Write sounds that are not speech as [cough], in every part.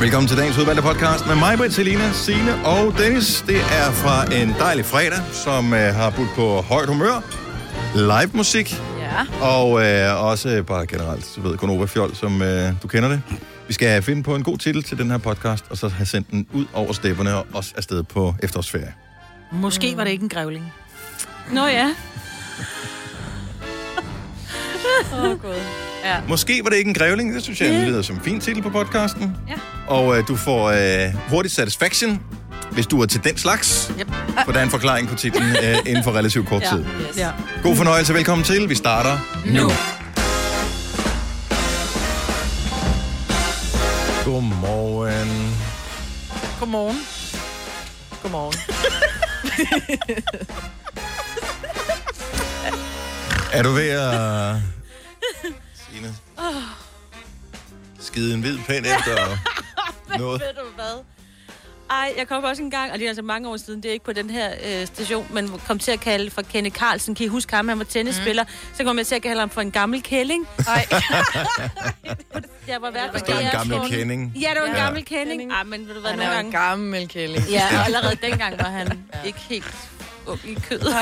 Velkommen til dagens udvalgte podcast med mig, Britt, Selina, Signe og Dennis. Det er fra en dejlig fredag, som øh, har budt på højt humør, live musik Ja. og øh, også øh, bare generelt, du ved, Gunova Fjol, som øh, du kender det. Vi skal finde på en god titel til den her podcast, og så have sendt den ud over stepperne og også afsted på efterårsferie. Måske var det ikke en grævling. Nå ja. Åh, oh, gud. Ja. Måske var det ikke en grævling, det synes jeg yeah. lyder som en fin titel på podcasten. Ja. Og øh, du får øh, hurtigt satisfaction, hvis du er til den slags. Yep. For der er en forklaring på titlen øh, inden for relativt kort tid. Yes. Ja. God fornøjelse, velkommen til. Vi starter nu. Godmorgen. Godmorgen. Godmorgen. Er du ved at... Signe? Skide en hvid pind efter noget? Ved du [laughs] hvad? Ej, jeg kom også en gang, og det er altså mange år siden, det er ikke på den her øh, station, men kom til at kalde for Kenneth Carlsen. Kan I huske ham? Han var tennisspiller. Mm. Så kom jeg til at kalde ham for en gammel kælling. [laughs] Nej. Jeg var hvert Der stod en gammel kending. Ja, det var en Ja. gammel kending. Ja, men ved du hvad, Han nogle er jo en gange... gammel kælling. Ja, og allerede dengang var han ikke helt ung i kødet.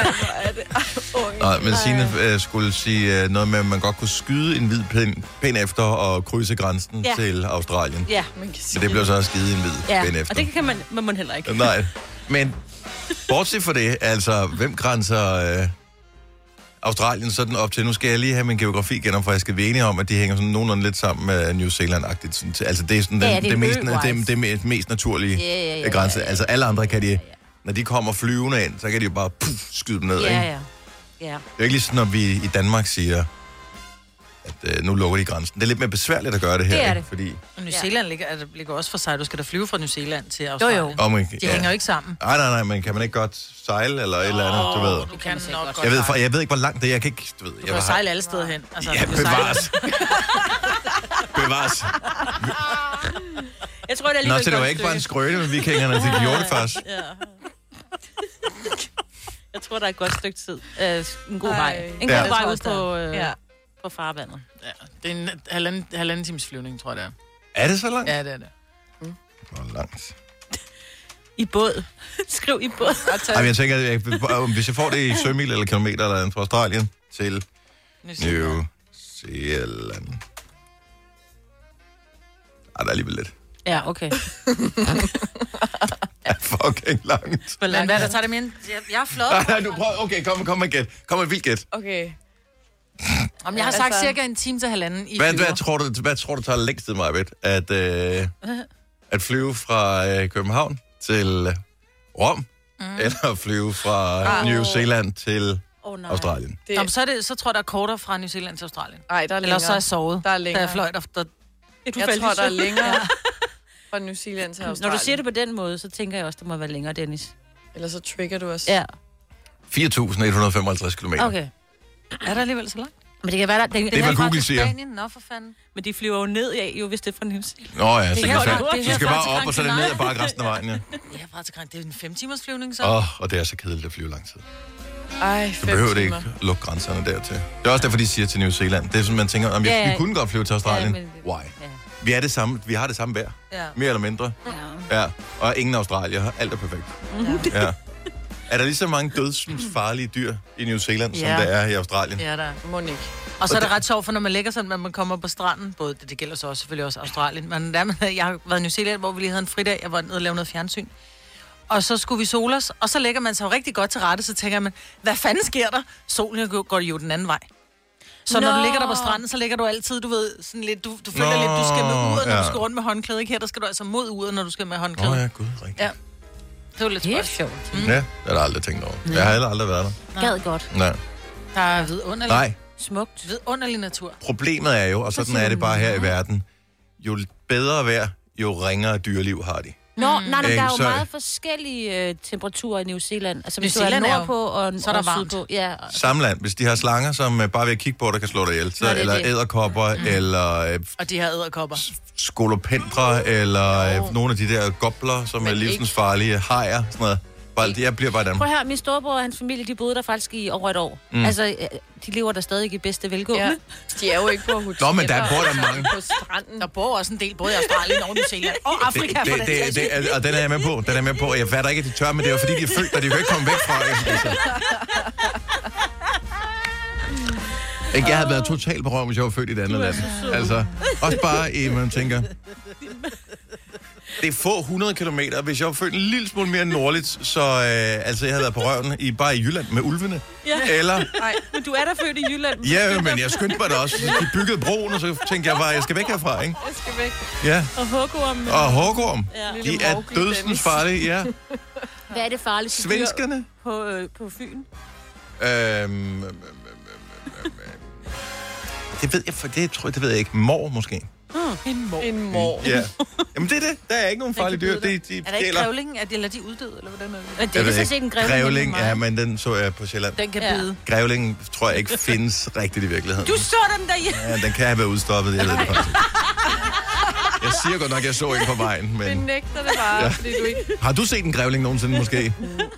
Nej, men Signe øh, skulle sige øh, noget med, at man godt kunne skyde en hvid pind, pind efter og krydse grænsen ja. Ja. til Australien. Ja. Ja, Man kan sige, Men det blev så skide en hvid ja. pind ja. efter. og det kan man, man må heller ikke. Nej, men bortset fra det, altså, hvem grænser øh, Australien sådan op til? Nu skal jeg lige have min geografi genopfrisket. Vi er enige om, at de hænger sådan nogenlunde lidt sammen med New Zealand-agtigt. Sådan til- Altså, det er sådan den, Ja, ja, det det, er det, mest, ø-wise. det, det mest, mest naturlige Ja, ja, ja, øh, grænse. Altså, alle andre kan de, når de kommer flyvende ind, så kan de jo bare puff, skyde dem ned, ikke? Ja, ja. Ja. Det er ikke ligesom, når vi i Danmark siger, at øh, nu lukker de grænsen. Det er lidt mere besværligt at gøre det her, Det er ikke? det. Fordi, Og New Ja. Zealand ligger, altså, ligger også for sig. Du skal da flyve fra New Zealand til Australien. jo. om, man- De hænger jo ikke sammen. Nej, nej, nej, men kan man ikke godt sejle eller et eller andet, du ved. Du kan nok godt. Jeg ved, for, jeg ved ikke, hvor langt det er. Jeg kan ikke, du ved. Du jeg kan jo var- sejle alle steder hen. Altså, Ja, du kan sejle- bevares. [laughs] bevares. Jeg tror, det er lige Nå, så det var ikke bare en skrøne med vikingerne, [laughs] de gjorde det faktisk. Jeg tror, der er et godt stykke tid. Øh, en god Ej. vej. En Ja. god vej ud Det tror jeg på, øh, også, der er. ja. Ja. på farvandet. Ja, det er en halvanden, halvanden times flyvning, tror jeg, det er. Er det så langt? Ja, det er det. Hvor [laughs] langt. I båd. Skriv i båd. Ej, men jeg tænker, at jeg, hvis jeg får det i sømil eller kilometer eller andet fra Australien til New Zealand. New Zealand. Ej, der er alligevel lidt. Ja, okay. Ja, [laughs] fucking langt. Men hvad er der tager det med? Jeg, jeg er flot. Ej, nej, du prøver. Okay, kom, kom med gæt. Kom med vildt gæt. Okay. Om jeg har sagt cirka en time til halvanden i Hvad, flyver. hvad, tror du, hvad tror du tager længst tid, Majbet? At, øh, at flyve fra øh, København til Rom, mm. eller at flyve fra New Zealand til Oh, nej. Australien? Det, Nå, men så, er det, så tror jeg, der er kortere fra New Zealand til Australien. ej, der er længere. Eller så er jeg sovet, Der er da jeg længere. fløj. Der, der, Du jeg faldt tror, i der er søvn. længere fra New Zealand til Når Australien. du siger det på den måde, så tænker jeg også, der må være længere, Dennis. Eller så trigger du os. 4.155 km. Okay. Okay. er der alligevel så langt? Men det kan være, der... Den, Det er, hvad Fra Google til siger. Spanien? Nå, for fanden. Men de flyver jo ned af, jo, hvis det er fra New Zealand. Nå ja, så her, kan der- du, det er du her skal fra bare til op, og så er det Gran ned Canaria. ad bare resten af vejen, [laughs] ja. Det er fra til Gran- Det er en fem timers flyvning, så. Åh, og det er så kedeligt at flyve lang tid. Ej, Du fem behøver det ikke timer. lukke grænserne dertil. Det er også derfor, de siger til New Zealand. Det er sådan, man tænker, om Ja, jeg, ja. vi kunne godt flyve til Australien. Ja, men det- Why? Ja. Vi, er det samme, vi har det samme vejr. Ja. Mere eller mindre. Ja. Og ingen australier. Alt er perfekt. Ja. Er der lige så mange dødsfarlige dyr i New Zealand, som Ja. der er i Australien? Ja, der. er. Må den ikke. Og så er det ret sjovt, for når man ligger sådan, at man kommer på stranden, både det, det gælder så også selvfølgelig også Australien, men der, man, jeg har været i New Zealand, hvor vi lige havde en fridag, jeg var nede og lavede noget fjernsyn. Og så skulle vi sole os, og så lægger man sig jo rigtig godt til rette, så tænker man, hvad fanden sker der? Solen går- går jo den anden vej. Så når Nå. du ligger der på stranden, så ligger du altid, du ved, sådan lidt, du, du føler Nå, lidt, du skal med uret, når ja. du skal rundt med håndklæde. Ikke her, der skal du altså mod uret, når du skal med Åh håndklæde. oh, Oh, ja, ja. gud, rigtigt. Ja. Det er jo lidt Det er spøjst. sjovt. Mm. Ja, det har jeg aldrig tænkt over. Jeg har heller aldrig været der. Gad godt. Nej. Der er vidunderlig, Nej, Smukt. vidunderlig natur. problemet er jo, og sådan er det bare her i verden, jo bedre vejr, jo ringere dyreliv har de. Nå, nej, nej, Ikke? der er jo Så- meget forskellige øh, temperaturer i New Zealand. Altså, hvis New du er Zealand er jo- nordpå og, så er der og varmt. sydpå. Ja, og- Samland, hvis de har slanger, som øh, bare ved at kigge på dig kan slå dig ihjel, så, Nå, det er eller det. æderkopper, mm. eller øh, Og de her æderkopper. skolopendre, eller øh, nogle af de der gobler, som er livsens farlige hajer, sådan noget. Bare, jeg bliver bare i Prøv Danmark. at høre, min storebror og hans familie, de boede der faktisk i over et år. Mm. Mm. Altså, øh, de lever der stadig i bedste velgående. Ja. Ja. De er jo ikke på hoteller. Nå, men der bor der mange. På stranden. Der bor også en del, både i Australien og New Zealand. Og Det, Afrika, for det, den det, sags skyld. det, er- og den er jeg med på. Den er jeg med på. Jeg fatter ikke, at de tør, men det er jo fordi, de er født, og de kan ikke komme væk fra det. Altså. Ikke, Jeg havde været totalt berømt, hvis jeg var født i et andet land. Altså, også bare i, man tænker... Det er få 100 kilometer. Hvis jeg var født en lille smule mere nordligt, så øh, altså, jeg havde været på røven i, bare i Jylland med ulvene. Ja. Eller Nej, men du er der født i Jylland. Ja, men jeg skyndte mig da [laughs] også. De byggede broen, og så tænkte jeg bare, jeg skal væk herfra, ikke? Jeg skal væk. Ja. Og huggorm. Og hårgorm. Ja. De Lille er Morgan dødsens Dennis. farlige, ja. [laughs] Hvad er det farligste dyr Svenskerne. på, øh, på Fyn? Øhm, øhm, øhm, øhm, øhm, øhm. det ved jeg, for det tror jeg, det ved jeg ikke. Mor måske. Mm. En mor. En mor. Ja. Jamen det er det. Der er ikke nogen farlige dyr. De, de Er der ikke gælder. grævlingen? Er de, eller de uddøde, eller hvordan er det? Men det Jeg er ved vist ikke en grævling. Grævling, men ja, meget. men den så jeg på Sjælland. Den kan Ja. bide. Grævling tror jeg ikke findes rigtigt i virkeligheden. Du så den der hjemme. Ja, den kan have været udstoppet, jeg ved det faktisk. Jeg siger godt nok, at jeg så ikke på vejen, Det men... nægter det bare, Ja. ja. fordi du ikke... Har du set en grævling nogensinde måske?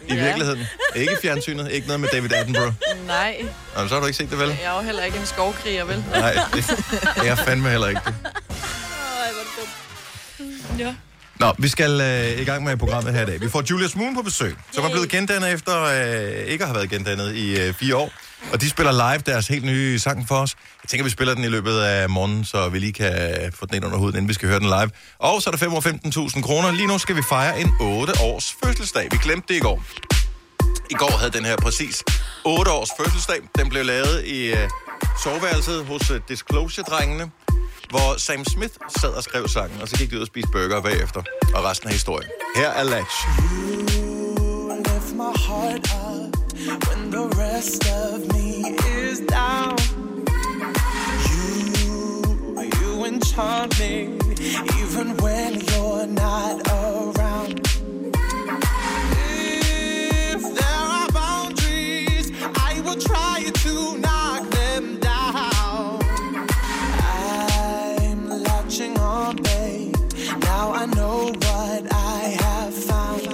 I Ja. virkeligheden. Ikke i fjernsynet, ikke noget med David Attenborough. Nej, Nå, så har du ikke set det, vel? jeg er jo heller ikke en skovkriger, vel? Nej, det det er fandme heller ikke det. Ja. Nå, vi skal øh, i gang med programmet her i dag. Vi får Julia Moon på besøg, som er blevet gendannet efter øh, ikke at have været gendannet i øh, fire år. Og de spiller live deres helt nye sang for os. Jeg tænker, vi spiller den i løbet af morgenen, så vi lige kan få den ind under huden, inden vi skal høre den live. Og så er der 5 år 15.000 kroner. Lige nu skal vi fejre en 8-års fødselsdag. Vi glemte det i går. I går havde den her præcis 8 års fødselsdag. Den blev lavet i øh, soveværelset hos øh, Disclosure-drengene, hvor Sam Smith sad og skrev sangen, og så gik de ud og spiste burger bagefter. Og resten af historien. Her er Latch. I left my heart up when the rest of me is down. You, you enchant me even when you're not around. If there are boundaries, I will try to knock them down. I'm latching on, babe. Now I know what I have found.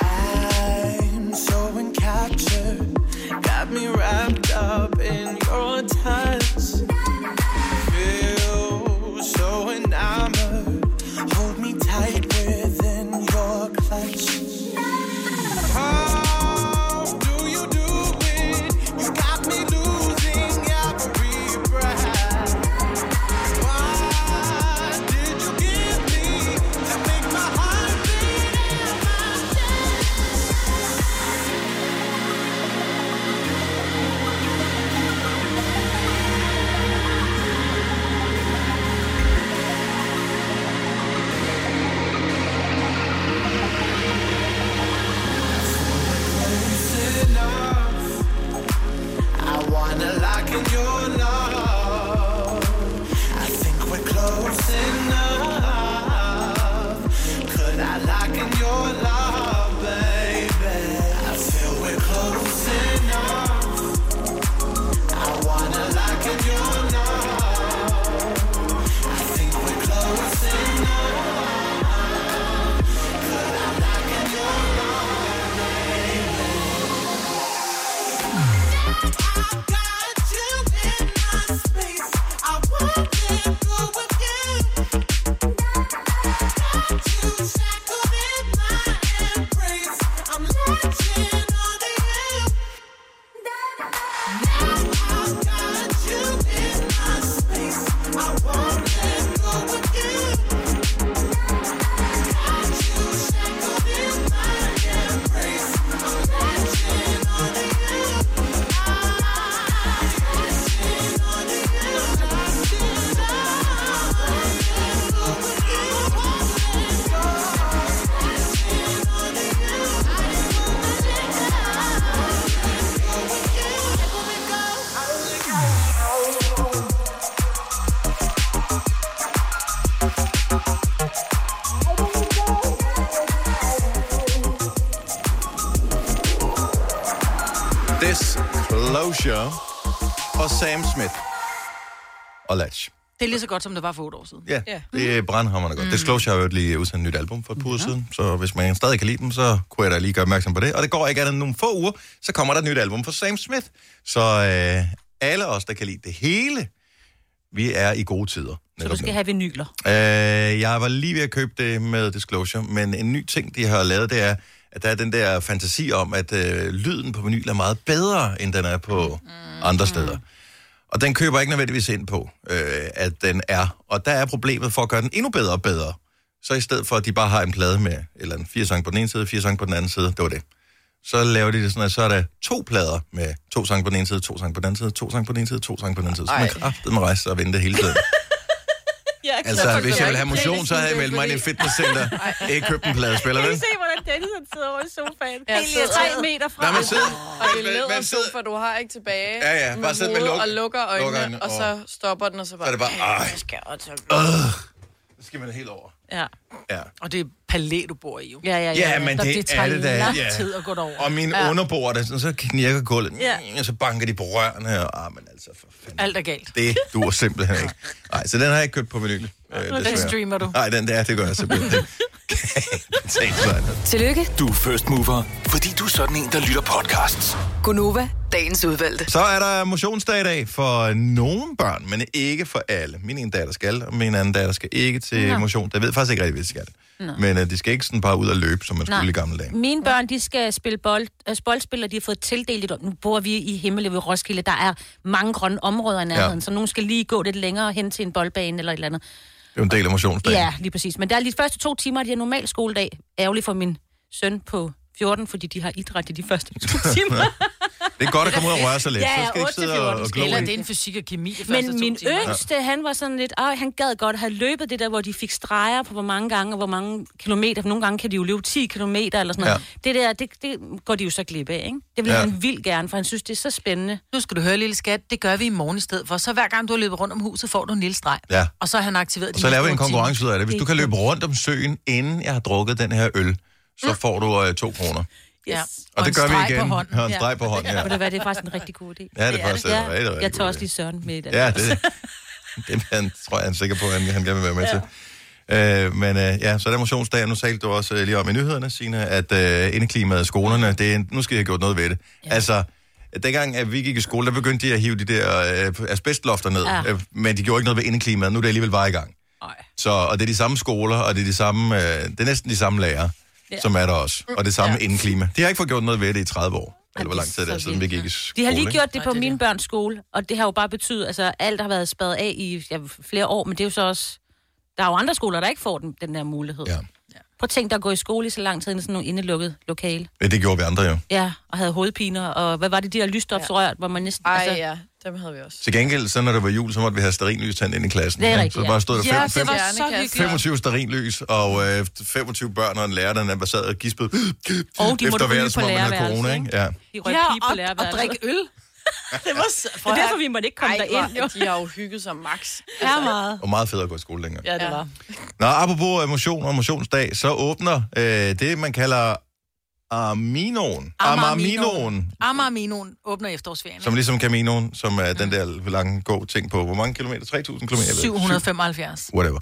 I'm so encaptured, got me wrapped up in your touch. Feel so enamored, hold me tight within your clutch. How do you do it? You got me losing every breath. Why did you give me to make my heart beat in my chest? enough. I wanna lock in your love. I think we're close enough. Could I lock in your love, baby? I feel we're close enough. I wanna lock in your love. I think we're close enough. I've got you in Disclosure og Sam Smith og Latch. Det er lige så godt, som det var for otte år siden. Ja, yeah. det er brandhammerne godt. Mm. Disclosure har jo lige udsendt et nyt album for et par uger siden, så hvis man stadig kan lide dem, så kunne jeg da lige gøre opmærksom på det. Og det går ikke andet end nogle få uger, så kommer der et nyt album for Sam Smith. Så øh, alle os, der kan lide det hele, vi er i gode tider. Så du netop nu. skal have vinyler. Øh, jeg var lige ved at købe det med Disclosure, men en ny ting, de har lavet, det er, at der er den der fantasi om, at øh, lyden på vinyl er meget bedre, end den er på mm. andre steder. Og den køber jeg ikke nødvendigvis ind på, øh, at den er. Og der er problemet for at gøre den endnu bedre og bedre. Så i stedet for, at de bare har en plade med eller en fire sange på den ene side, fire sange på den anden side, det var det. Så laver de det sådan, at så er der to plader med to sange på den ene side, to sange på den anden side, to sange på den ene side, to sange på den anden side. Så man Ej. kraftedeme må rejse sig og vente hele tiden. Ja, Altså, forstår jeg hvis jeg ville ikke. have motion, så havde jeg meldt mig ind i et [laughs] fitnesscenter. [laughs] Ikke købt en pladespiller, vel? se, hvordan Dennis han sidder over i sofaen. Ja, Helt sidder- tre meter fra. Nej, men sidder... Og det er Man leder sidder... sofa, du har ikke tilbage. Ja, ja, bare sidde med hovedet luk- Og lukker øjnene, lukker øjnene, og så stopper den, og så Så er bare... det bare... Ej, skal også. øh, så skal man helt over. Ja. Ja. Og det er palæ, du bor i, jo. Ja, ja, ja. Ja, men Der- det det er tager det da, lang ja. tid at gå derover. Og mine ja. underboer, der sådan, så knirker gulvet, Ja. og så banker de på rørene, og ah, men altså, for fanden. Alt er galt. Det duer simpelthen ikke. Nej, så den har jeg ikke købt på menuen. Øh, Den desværre. streamer du. Nej, den der, det gør jeg simpelthen. Det kan jeg ikke [laughs] betale sig. Tillykke, Du er first mover, fordi du er sådan en, der lytter podcasts. Gunova, dagens udvalgte. Så er der motionsdag i dag for nogle børn, men ikke for alle. Min ene datter skal, og min anden datter skal ikke til ja. motion. Jeg ved faktisk ikke rigtig, hvad de skal. Men uh, de skal ikke sådan bare ud og løbe, som man Nej. skulle i gamle dage. Mine børn, de skal spille bold, altså boldspil, og de har fået tildelt et... Nu bor vi i Himmel ved Roskilde. Der er mange grønne områder i nærheden, Ja. ja. så nogen skal lige gå lidt længere hen til en boldbane eller et eller andet. Det er jo en del af motionsdagen. Ja, lige præcis. Men der er lige de første to timer, de er normal skoledag. Ærgerligt for min søn på 14, fordi de har idræt i de første [laughs] to timer. Det er godt at komme ud og røre sig lidt. Ja, så skal de ikke sidde og, 8-14 og glo Eller i. det er en fysik og kemi de første Men to min timer. yngste, han var sådan lidt, Øj, han gad godt have løbet det der, hvor de fik streger på, hvor mange gange og hvor mange kilometer. For nogle gange kan de jo løbe 10 kilometer eller sådan noget. Ja. Det der, det, det går de jo så glip af, ikke? Det vil Ja. ja. han vildt gerne, for han synes, det er så spændende. Nu skal du høre, lille skat, det gør vi i morgen i stedet for. Så hver gang du har løbet rundt om huset, får du en lille streg. Ja. Og så har han aktiveret Og så laver vi en konkurrence ud af det. Hvis du kan løbe rundt om søen, inden jeg har drukket den her øl, så får du øh, to kroner. Yes. Ja. Og, det gør en streg vi på igen. hånden. Og en streg på hånden, ja. Og det, var, det er faktisk en rigtig god idé. Ja, det er faktisk en rigtig, rigtig Jeg tager god også idé. lige Søren med i den. Ja, [laughs] det, [laughs] det er han, tror jeg, han er sikker på, at han, han gerne vil være med ja. til. Øh, men øh, ja, så er der motionsdag. Nu talte du også øh, lige om i nyhederne, Signe, at øh, indeklimaet i skolerne, det er, nu skal jeg have gjort noget ved det. Ja. Altså, dengang at vi gik i skole, der begyndte de at hive de der øh, asbestlofter ned, ja. Ja. øh, men de gjorde ikke noget ved indeklimaet. Nu er det alligevel bare i gang. Nej. Så, og det er de samme skoler, og det er, de samme, øh, det er næsten de samme lærere, ja. som er der også. Og det samme ja. indeklima. De har ikke fået gjort noget ved det i 30 år. Eller hvor det er lang tid det er, så siden vi vildt. gik i skole. De har lige ikke? gjort det på det er mine børns skole, og det har jo bare betydet, altså alt har været spadet af i ja, flere år, men det er jo så også... Der er jo andre skoler, der ikke får den, den der mulighed. Ja. Prøv at tænke dig at gå i skole i så lang tid, i sådan nogle indelukket lokale. Ja, det gjorde vi andre jo. Ja, og havde hovedpiner, og hvad var det, de der lysstofsrør, ja. hvor man næsten... altså, Ej, ja, dem havde vi også. Til gengæld, så når det var jul, så måtte vi have sterinlys tændt ind i klassen. Det er Ja, rigtigt, så ja. bare stod der fem, Ja, fem, det var så Hjernekasse. hyggeligt. 25 sterinlys, og øh, 25 børn og en lærer, der nærmest sad og gispede. Og de måtte efter ryge hver, på som om man havde lærerværelset, corona, ikke? ikke? Ja. De røg Ja, pige på og, og lærerværelset. drikke øl. [laughs] det var så... Det er derfor, vi måtte ikke komme Ej, derind, jo. hvor, de har jo hygget sig max. Ja, meget. Og meget fedt at gå i skole længere. Altså, Ja, det var. Nå, apropos øh, motion og motionsdag, så åbner øh, det, man kalder Aminoen. Amarminoen. Amarminoen åbner i efterårsferien. Som ligesom Caminoen, som er den der lange gå ting på. Hvor mange kilometer? 3.000 kilometer? Jeg ved ikke. 775. Whatever.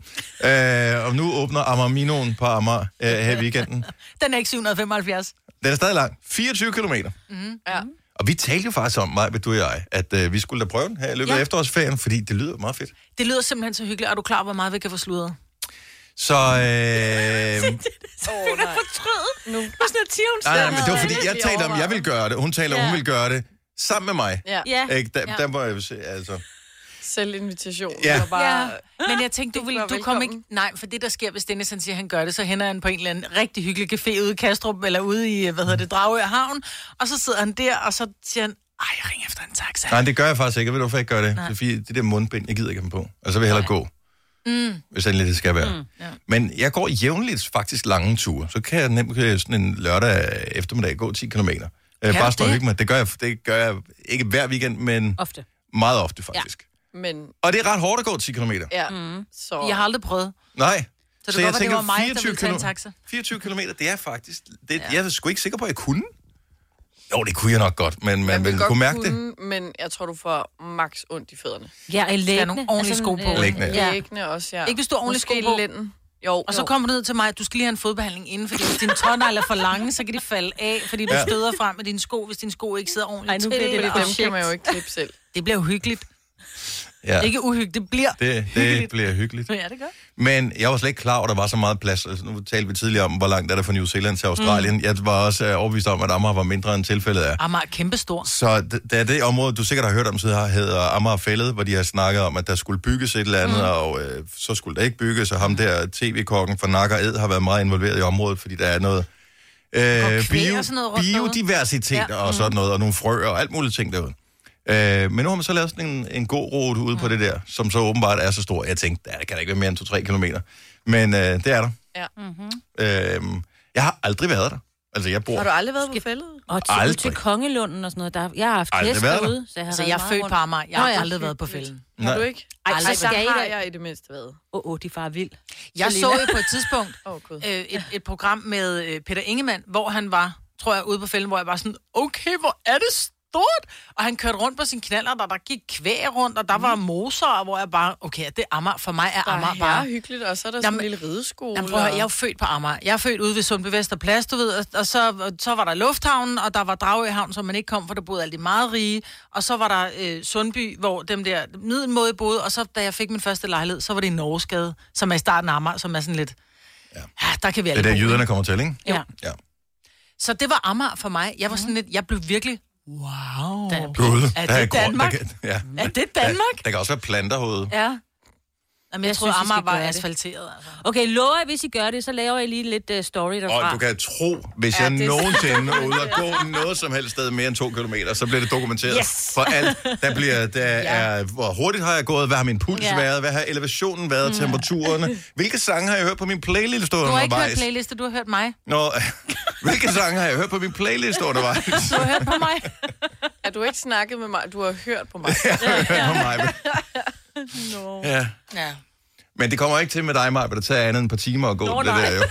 Øh, og nu åbner Amarminoen på Amager øh, her i weekenden. Den er ikke 775. Den er stadig lang. 24 kilometer. Mm-hmm. Ja. Og vi talte jo faktisk om, mig, du og jeg, at øh, vi skulle da prøve den her i løbet af Ja. efterårsferien, fordi det lyder meget fedt. Det lyder simpelthen så hyggeligt. Er du klar, hvor meget vi kan få sludret? Så, [laughs] øh, Åh, oh, nej. Nu. Og sådan noget tivn. nej, nej, men det var fordi, jeg Vi talte om, at jeg overvejer. ville gøre det. Hun taler om, hun Ja. ville gøre det sammen med mig. Ja, Ja, Ikke? Der, der må jeg jo se, altså. selv invitation. Ja. Det var bare... Ja. Men jeg tænkte, du, Det vil, var du kom ikke... velkommen. Nej, for det, der sker, hvis Dennis han siger, at han gør det, så hænder han på en eller anden rigtig hyggelig café ude i Kastrup, eller ude i, øh, hvad hedder det, Dragør Havn, og så sidder han der, og så siger han, ej, ring efter en taxa. Nej, det gør jeg faktisk ikke. Jeg ved du, hvorfor jeg ikke gør det? Fordi det der mundbind, jeg gider ikke have dem på. Og så vil jeg hellere gå. Mm. Hvis endelig det skal være. Mm, ja. Men jeg går jævnligt faktisk lange ture. Så kan jeg nemt øh, sådan en lørdag eftermiddag gå 10 km. Øh, du bare stå og det? hygge mig. Det gør, jeg, det gør jeg ikke hver weekend, men Ofte. meget ofte faktisk. Ja. Men Og det er ret hårdt at gå 10 km. ja, mm. så... Jeg har aldrig prøvet. Nej. Så det kan godt være, det var mig, der ville tage en taxa. 24 km, det er faktisk... Det, ja. Jeg er sgu ikke sikker på, at jeg kunne. Jo, det kunne jeg nok godt, men man ville kunne mærke det. det. Men jeg tror, du får max ondt i fødderne. Ja, en lægne. Skal have nogle ordentlige sådan, sko på. øh, Lægne. Ja. Læggende også, ja. Altså Ikke hvis du har ordentligt sko Måske på. lænden. Jo, Og så jo. kommer du ned til mig, at du skal lige have en fodbehandling inden, fordi hvis dine tårnegle er for lange, så kan de falde af, fordi du Ja. støder frem med dine sko, hvis dine sko ikke sidder ordentligt Ej, nu til. bliver det og- lidt Dem kan man jo ikke klippe selv. Det bliver uhyggeligt. Ja, Ikke uhyggeligt, det bliver... det, det bliver [laughs] hyggeligt. Ja, det gør. Men jeg var slet ikke klar over, at der var så meget plads. Altså, nu talte vi tidligere om, hvor langt er der fra New Zealand til Australien. Mm. Jeg var også øh, overbevist om, at Amager var mindre end tilfældet er. Amager er kæmpestor. Så d- da det område, du sikkert har hørt om, så har- hedder Amager Fælled, hvor de har snakket om, at der skulle bygges et eller andet, mm. og øh, så skulle der ikke bygges, og ham der tv-kokken fra Nakker Ed har været meget involveret i området, fordi der er noget øh, knæ og sådan noget rundt derude. biodiversitet ja. Ja. Mm. og sådan noget, og nogle frøer og alt muligt ting derude. Øh, men nu har man så lavet sådan en, en god rute ude mm. på det der, som så åbenbart er så stor. Jeg tænkte, der kan da ikke være mere end 2-3 kilometer. Men øh, det er der. Ja. Mhm. Øh, jeg har aldrig været der. Altså, jeg bor... Har du aldrig været på fældet? Og til, Aldrig. Aldrig. til Kongelunden og sådan noget. Der, jeg har haft Aldrig hest været der. derude, så jeg har Altså, været jeg er meget født på rundt. Amager. Jeg har Nå ja, aldrig været på fælden. Har du ikke? Ej, Ej, så Ej, skal der jeg har ikke- jeg i det mindste været. Åh, oh, oh, de far er vild. Jeg så jo på et tidspunkt [laughs] Åh, oh, gud. øh, et, et program med øh, Peter Ingemann, hvor han var, tror jeg, ude på fælden, hvor jeg var sådan, okay, hvor er det stort? Og han kørte rundt på sin knaller, der, der gik kvæg rundt, og der var moser, og hvor jeg bare, okay, det er Amager, for mig er Mm. Der Amager er bare bare... hyggeligt, og så er der sådan en Jamen- lille rideskole. Jamen, prøv at høre, jeg er jo og- født på Amager. Jeg er født ude ved Sundby Vesterplads, du ved, og, og så, så var der Lufthavnen, og der var Dragøhavn, som man ikke kom, for der boede alle de meget rige. Og så var der øh, Sundby, hvor dem der middelmåde boede, og så da jeg fik min første lejlighed, så var det i Norgesgade, som er i starten af Amager, som er sådan lidt... Ja, der kan vi Det er alle der, bo. jyderne kommer til, ikke? Ja. Ja. Mhm. Så det var Amager for mig. Jeg var sådan lidt, jeg blev virkelig, wow. Da jeg blev, Gud, er der det grund- Danmark? Der kan, ja. Er det Danmark? Der, der kan også være planter herude. Ja. Jamen, jeg, jeg Jeg troede, synes, I Amager skal var gøre det. asfalteret. Altså. Okay, lover jeg, hvis I gør det, så laver jeg lige lidt uh, story derfra. Og Ah. du kan tro, hvis Ja, jeg det er- nogensinde er ude og gå noget som helst sted mere end to kilometer, så bliver det dokumenteret. Yes. For alt, der [laughs] bliver, der er, hvor hurtigt har jeg gået, hvad har min puls Ja. Mm. været, hvad har elevationen været, temperaturerne, hvilke sange har jeg hørt på min playlist Du har ikke hørt undervejs? playliste, du har hørt mig. Nå, [laughs] hvilke sange har jeg hørt på min playlist undervejs? [laughs] Du har hørt på mig. [laughs] Er du ikke snakket med mig? Du har hørt på mig. [laughs] Hør mig. Ja. Ja. Men det kommer ikke til med dig, Maja, for det tager andet end et par timer at gå. Nå, det nej. der jo.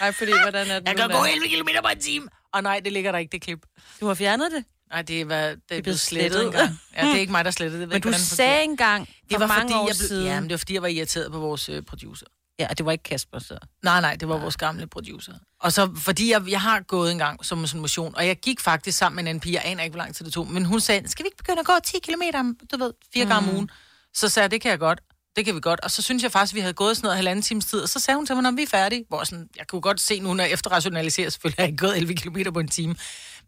Nej, fordi hvordan er det Jeg nu, kan mand? gå 11 km på en time. Og nej, det ligger der ikke, det klip. Du har fjernet det. Nej, det var, det er blevet blevet slettet slettet. [laughs] Hmm. engang. Ja, det er ikke mig, der slettede det. Jeg ved Men ikke, du hvordan det sagde engang for fungerer. det var mange fordi, år jeg blev, siden. Ja, men det var fordi, jeg var irriteret på vores øh, producer. Ja, og det var ikke Kasper, så. Nej, nej, det var vores gamle producer. Og så, fordi jeg, jeg har gået en gang som sådan motion, og jeg gik faktisk sammen med en anden pige, jeg aner ikke, hvor lang tid det tog, men hun sagde, skal vi ikke begynde at gå 10 km, du ved, fire gange Mm. om ugen? Så sagde jeg, det kan jeg godt, det kan vi godt. Og så synes jeg faktisk, vi havde gået sådan noget halvanden times tid, og så sagde hun til mig, når vi er færdige, hvor jeg sådan, jeg kunne godt se nu, når jeg efterrationaliserer, selvfølgelig har jeg ikke gået 11 km på en time,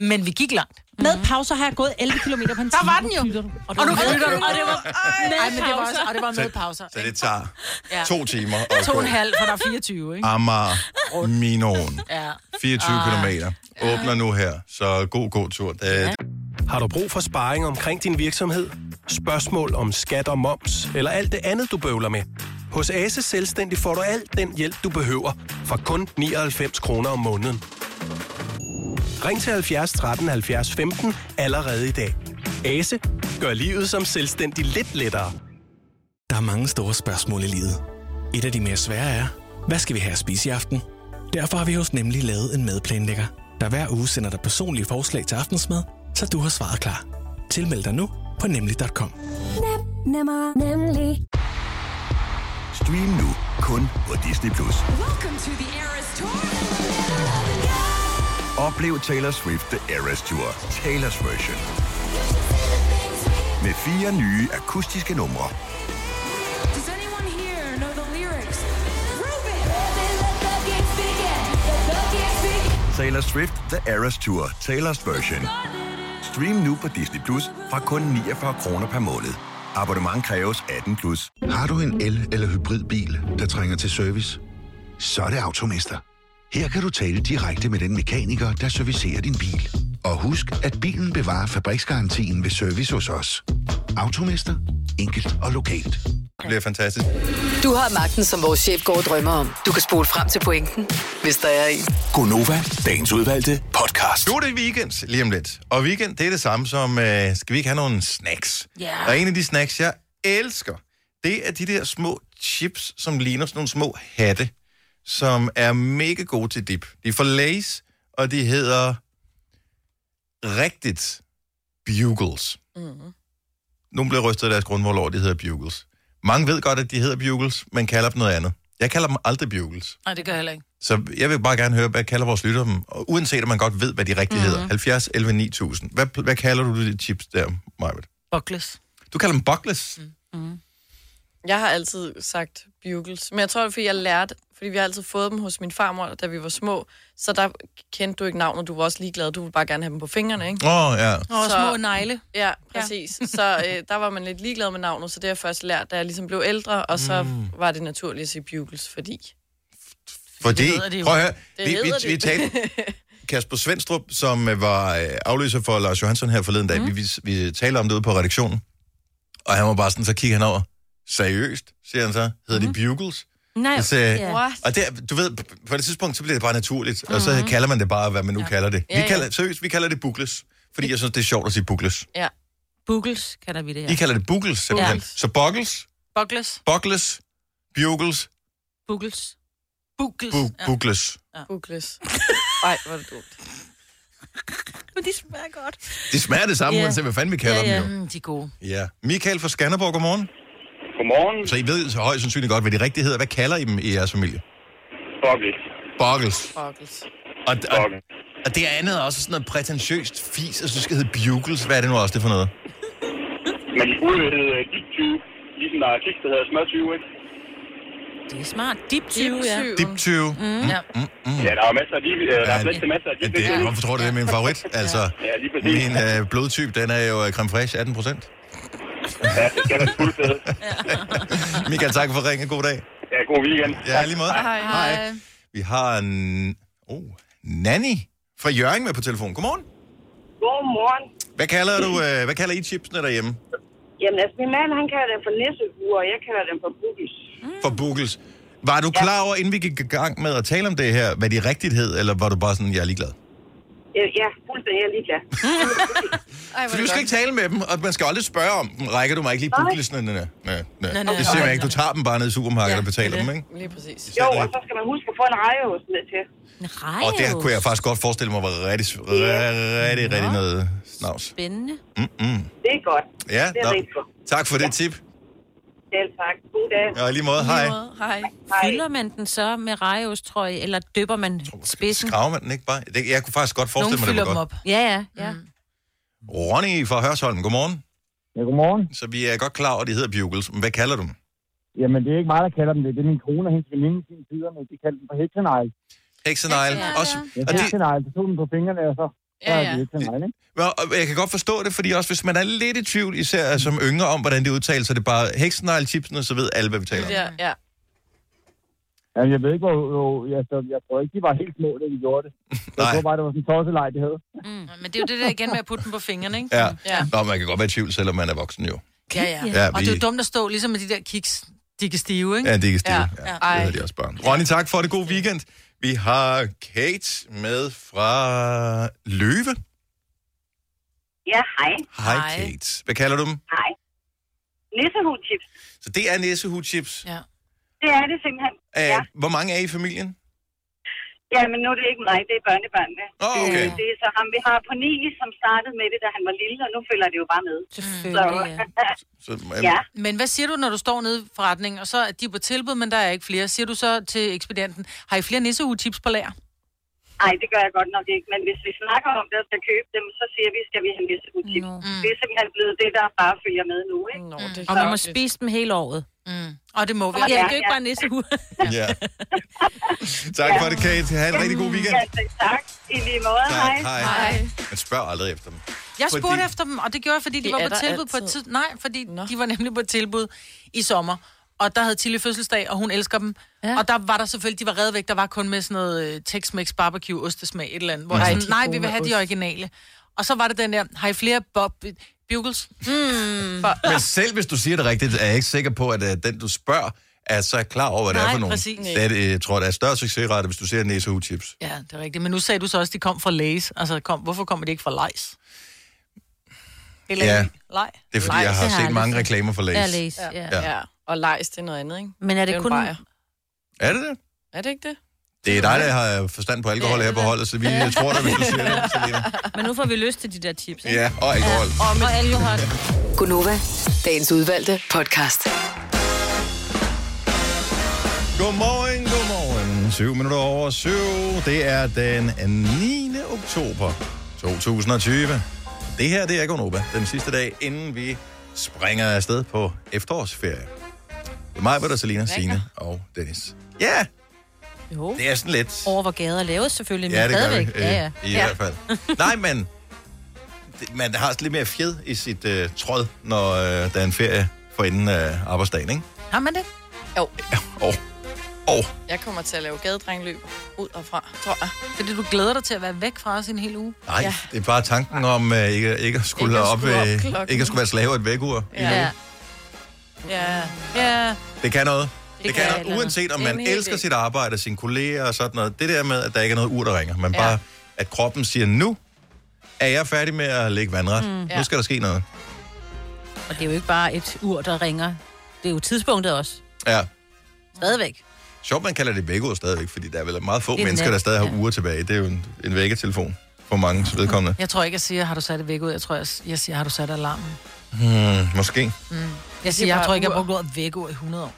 men vi gik langt. Mm. Med pauser har jeg gået 11 km på en time. Der var den jo. Lytter du? Og du, og du, og det var, ej, men det var pauser. også, og det var med pauser. Så det tager Ja. to timer at To og gå. en halv, for der er 24, ikke? Ah. Amager Minoen. Ja. 24 kilometer. Åbner nu her, så god, god tur. Det, ja. Har du brug for sparring omkring din virksomhed? Spørgsmål om skat og moms, eller alt det andet, du bøvler med? Hos Ase Selvstændig får du alt den hjælp, du behøver, for kun 99 kroner om måneden. Ring til 70 13 70 15 allerede i dag. Ase gør livet som selvstændig lidt lettere. Der er mange store spørgsmål i livet. Et af de mere svære er, hvad skal vi have at spise i aften? Derfor har vi hos Nemlig lavet en madplanlægger, der hver uge sender dig personlige forslag til aftensmad, så du har svaret klar. Tilmeld dig nu på nemlig.com. Nemmer, nemlig. Stream nu kun på Disney+. Plus. Oplev Taylor Swift The Eras Tour, Taylor's version. Med fire nye akustiske numre. Taylor Swift The Eras Tour, Taylor's version. Stream nu på Disney Plus fra kun 49 kroner per måned. Abonnement kræves 18 plus. Har du en el- eller hybridbil, der trænger til service? Så er det Automester. Her kan du tale direkte med den mekaniker, der servicerer din bil. Og husk, at bilen bevarer fabriksgarantien ved service hos os. Automester. Enkelt og lokalt. det bliver fantastisk. Du har magten, som vores chef går og drømmer om. Du kan spole frem til pointen, hvis der er en. Gonova, dagens udvalgte podcast. Nu er det weekend lige om lidt. Og weekend, det er det samme som, øh, skal vi ikke have nogle snacks? Ja. Og en af de snacks, jeg elsker, det er de der små chips, som ligner sådan nogle små hatte, som er mega gode til dip. De er fra Lay's, og de hedder rigtigt bugles. Mm. Nogle bliver rystet af deres grundvold over, at de hedder bugles. Mange ved godt, at de hedder bugles, men kalder dem noget andet. Jeg kalder dem aldrig bugles. Nej, det gør jeg heller ikke. Så jeg vil bare gerne høre, hvad kalder vores lytter dem? Og uanset om man godt ved, hvad de rigtigt Mhm. mm. hedder. 70, 11, 9000. Hvad, hvad kalder du de chips der, Marvitt? Buckles. Du kalder dem buckles? Mm. Jeg har altid sagt bugles, men jeg tror, det er, fordi jeg lærte, fordi vi har altid fået dem hos min farmor, da vi var små, så der kendte du ikke navnet, du var også ligeglad, du ville bare gerne have dem på fingrene, ikke? Åh, oh, ja. Og små negle. Ja, præcis. Ja. så øh, der var man lidt ligeglad med navnet, så det har jeg først lært, da jeg ligesom blev ældre, og så Mm. mm. var det naturligt at sige bugles, fordi... Fordi, hedder de jo. prøv at høre, Det vi, hedder de. vi, vi [laughs] talte, Kasper Svendstrup, som øh, var øh, afløser for Lars Johansson her forleden dag, mm. vi, Mhm. vi, vi talte om det ude på redaktionen, og han var bare sådan, så kigger han over, seriøst, siger han så, Mhm. hedder mm. de Bugles? Nej, så, ja. yeah. øh, Og det, er- du ved, på det tidspunkt, så bliver det bare naturligt, mm. og så Mhm. kalder man det bare, hvad man nu ja. kalder det. Vi Mm-hmm. Ja, ja. kalder, seriøst, vi kalder det Bugles, fordi jeg synes, det er sjovt at sige Bugles. Ja. Bugles kalder vi det her. I kalder det Bugles, simpelthen. Ja. Så Buggles, Buckles. Buckles, Bugles, Bugles. Bugles. bu- Bugles. Ja. [laughs] Bugles. Nej, hvor er det dumt. Men de smager godt. De smager det samme, Ja. yeah. uanset hvad fanden vi kalder ja, ja. dem jo. Mm, de er gode. Ja. Michael fra Skanderborg, godmorgen. Godmorgen. Så I ved så højst sandsynligt godt, hvad de rigtige hedder. Hvad kalder I dem i jeres familie? Buckles. Buggles. Buckles. Og, og, og det andet er også sådan noget prætentiøst fis, og så skal det hedde Bugles. Hvad er det nu også, det for noget? Men de burde hedde øh, Deep 20, ligesom der er kiks, der hedder Smør 20, ikke? Det er smart. Deep 20, ja. Dip 20. Mm. Ja. Mm. Ja, der er masser af de, øh, der er plads til masser af de. Ja, det er, hvorfor tror du, det er min favorit? Altså, Ja, lige præcis. min øh, blodtype, den er jo øh, creme fraiche 18 procent. Ja, det skal være fuld fede. [laughs] Michael, tak for ringen. God dag. Ja, god weekend. Ja, lige måde. Hej. Hej. Vi har en... Oh, Nanny fra Jørgen med på telefon. Godmorgen. Godmorgen. Hvad kalder, du, øh, hvad kalder I chipsene derhjemme? Jamen, altså, min mand, han kalder den for nissehuer, og jeg kalder den for bubis. for Mm. Bugles. Var du klar over, inden vi gik i gang med at tale om det her, hvad de rigtigt hed, eller var du bare sådan, jeg er ligeglad? Øh, Ja, fuldstændig, jeg er [laughs] ligeglad. Fordi du skal ikke tale med dem, og man skal aldrig spørge om dem. Rækker du mig ikke lige Nej. Buglesene? Nej, nej, nej. Nej, nej, Det ser nej, jeg ikke. Du tager dem bare ned i supermarkedet og betaler dem, ikke? Lige præcis. Jo, og så skal man huske at få en rejeost med til. En Og det kunne jeg faktisk godt forestille mig var rigtig, rigtig, rigtig, rigtig noget snavs. Spændende. Mm-mm. Det er godt. Ja, det er nå. rigtig godt. tak for det tip. Selv tak. God dag. Ja, i lige måde. Hej. Hej. Fylder man den så med rejeost, tror jeg, eller døber man spidsen? Graver man den ikke bare? Det, jeg kunne faktisk godt forestille mig, det var godt. Ja, ja. ja. Mm. Ronny fra Hørsholm, godmorgen. Ja, godmorgen. Så vi er godt klar over, at de hedder Bugles. Men hvad kalder du dem? Jamen, det er ikke mig, der kalder dem det. Det er min kone og hendes veninde i sin tid, men de kalder dem for heksenegle. Heksenegle. Også, Ja, og det, heksenegle. Så tog dem på fingrene, og så, så Ja, ja, ja. er det heksenegle, ikke? Ja, og jeg kan godt forstå det, fordi også hvis man er lidt i tvivl, især som yngre om, hvordan det udtales, så det er bare heksenegle, chipsen, og så ved alle, hvad vi taler om. Ja, ja. Jamen, jeg ved ikke, hvor... hvor jeg, så, jeg tror ikke, de var helt små, da de gjorde [laughs] det. Jeg tror bare, det var sådan en tosseleg, det hed. Mm. Men det er jo det der igen med at putte dem på fingrene, ikke? Ja. Ja, Nå, man kan godt være i tvivl, selvom man er voksen jo. ja. ja. Ja, ja Og det er vi- jo dumt at stå ligesom med de der kiks. De kan stive, ikke? Ja, de kan stive. Ja. Ja. Det hedder de også børn. Ronny, tak for det. God weekend. Vi har Kate med fra Løve. Ja, hej. Hej, Kate. Hvad kalder du dem? Hej. Nissehudchips. Så det er næsehudchips. Ja. Det er det simpelthen. Æh, Hvor mange er I i familien? Ja, men nu er det ikke mig, det er børnebørnene. Åh, okay. Øh, Det er så ham, vi har på ni, som startede med det, da han var lille, og nu følger det jo bare med. Selvfølgelig, [laughs] Så, ja. Men hvad siger du, når du står nede i forretningen, og så er de på tilbud, men der er ikke flere? Siger du så til ekspedienten, har I flere nisseuge-tips på lager? Nej, det gør jeg godt nok ikke, men hvis vi snakker om det og skal købe dem, så siger vi, skal vi have nissehudchips. Mm. Det er simpelthen blevet det, der bare følger med nu, ikke? Nå, det Og man må spise dem hele året. Mm. Og det må vi. Ja, det er Ja, ikke ja. bare nissehue. Ja. tak for det, Kate. Ha' en rigtig god weekend. Ja, tak. I lige måde. Tak. Hej. Hej. Hej. Man spørger aldrig efter dem. Jeg spurgte Fordi- fordi... efter dem, og det gjorde jeg, fordi de, De de var er på der tilbud på et tid. Nej, fordi Nå. de var nemlig på et tilbud i sommer. Og der havde Tilly fødselsdag, og hun elsker dem. Ja. Og der var der selvfølgelig, de var reddet væk, der var kun med sådan noget øh, Tex-Mex barbecue ostesmag et eller andet. Hvor Nej, Nej, de sådan, er nej gode vi vil med have de ost." originale. Og så var det den der, har I flere Bob Bugles? Mm. [laughs] Men selv hvis du siger det rigtigt, er jeg ikke sikker på, at uh, den, du spørger, er så klar over, hvad det er Nej, for nogen. præcis. Det er, det, jeg tror, der er større succesrate, hvis du ser næseudchips. Ja, det er rigtigt. Men nu sagde du så også, at de kom fra Lays. Altså, kom, hvorfor kommer de ikke fra Lays? Eller Ja. Lej. Det er, fordi jeg har Det set aldrig mange reklamer for Lay's. Ja, Lays. Ja. Ja. ja. ja. Og lejs, det er noget andet, ikke? Men er det jo en kun- bajer. Er det det? Er det ikke det? Det er dig, der har forstand på alkohol her på holdet, så vi tror dig, hvis [laughs] du siger det. Men nu får vi lyst til de der chips, ikke? Ja, og alkohol. Og med alkohol. Gunova, dagens udvalgte podcast. Godmorgen, godmorgen. 7 minutter over 7. Det er den 9. oktober 2020. Det her, det er Gonova. Den sidste dag, inden vi springer afsted på efterårsferie. Det er mig, Britta, Selina, Signe og Dennis. Ja! Jo. Det er sådan lidt... Over hvor gader laves selvfølgelig, men Ja, det gør vi. stadigvæk. Øh, Ja, ja. I hvert fald. Nej, men det- man har også lidt mere fjed i sit øh, tråd, når øh, der er en ferie for inden øh, arbejdsdagen, ikke? Har man det? Jo. Og, og Jeg kommer til at lave gadedrengløb ud og fra, tror jeg. Fordi du glæder dig til at være væk fra os en hel uge. nej, ja. det er bare tanken om øh, ikke, ikke at skulle Ikke at op, skulle op øh, klokken. ikke at skulle være slave af et vækkeur. Ja. Ja. Ja. Det kan noget. Det, Det det kan kan, et eller noget, andet. uanset om En man hel elsker del. sit arbejde og sine kolleger og sådan noget. Det der med, at der ikke er noget ur, der ringer, men Ja. bare, at kroppen siger, nu er jeg færdig med at lægge vandret. Mm. Mm. Ja. Nu skal der ske noget. Og det er jo ikke bare et ur, der ringer. Det er jo tidspunktet også. Ja. Stadigvæk. Sjovt, man kalder det vækkeur stadigvæk, fordi der er vel meget få Det er mennesker, nat, der stadig har uger tilbage. Det er jo en, en vækketelefon for mange vedkommende. Jeg tror ikke, jeg siger, har du sat det væk ud. Jeg tror, jeg, jeg siger, har du sat alarmen. Hmm, måske. Mm. er Jeg siger, jeg bare tror ikke, jeg ur. har brugt ordet væk ud i 100 år.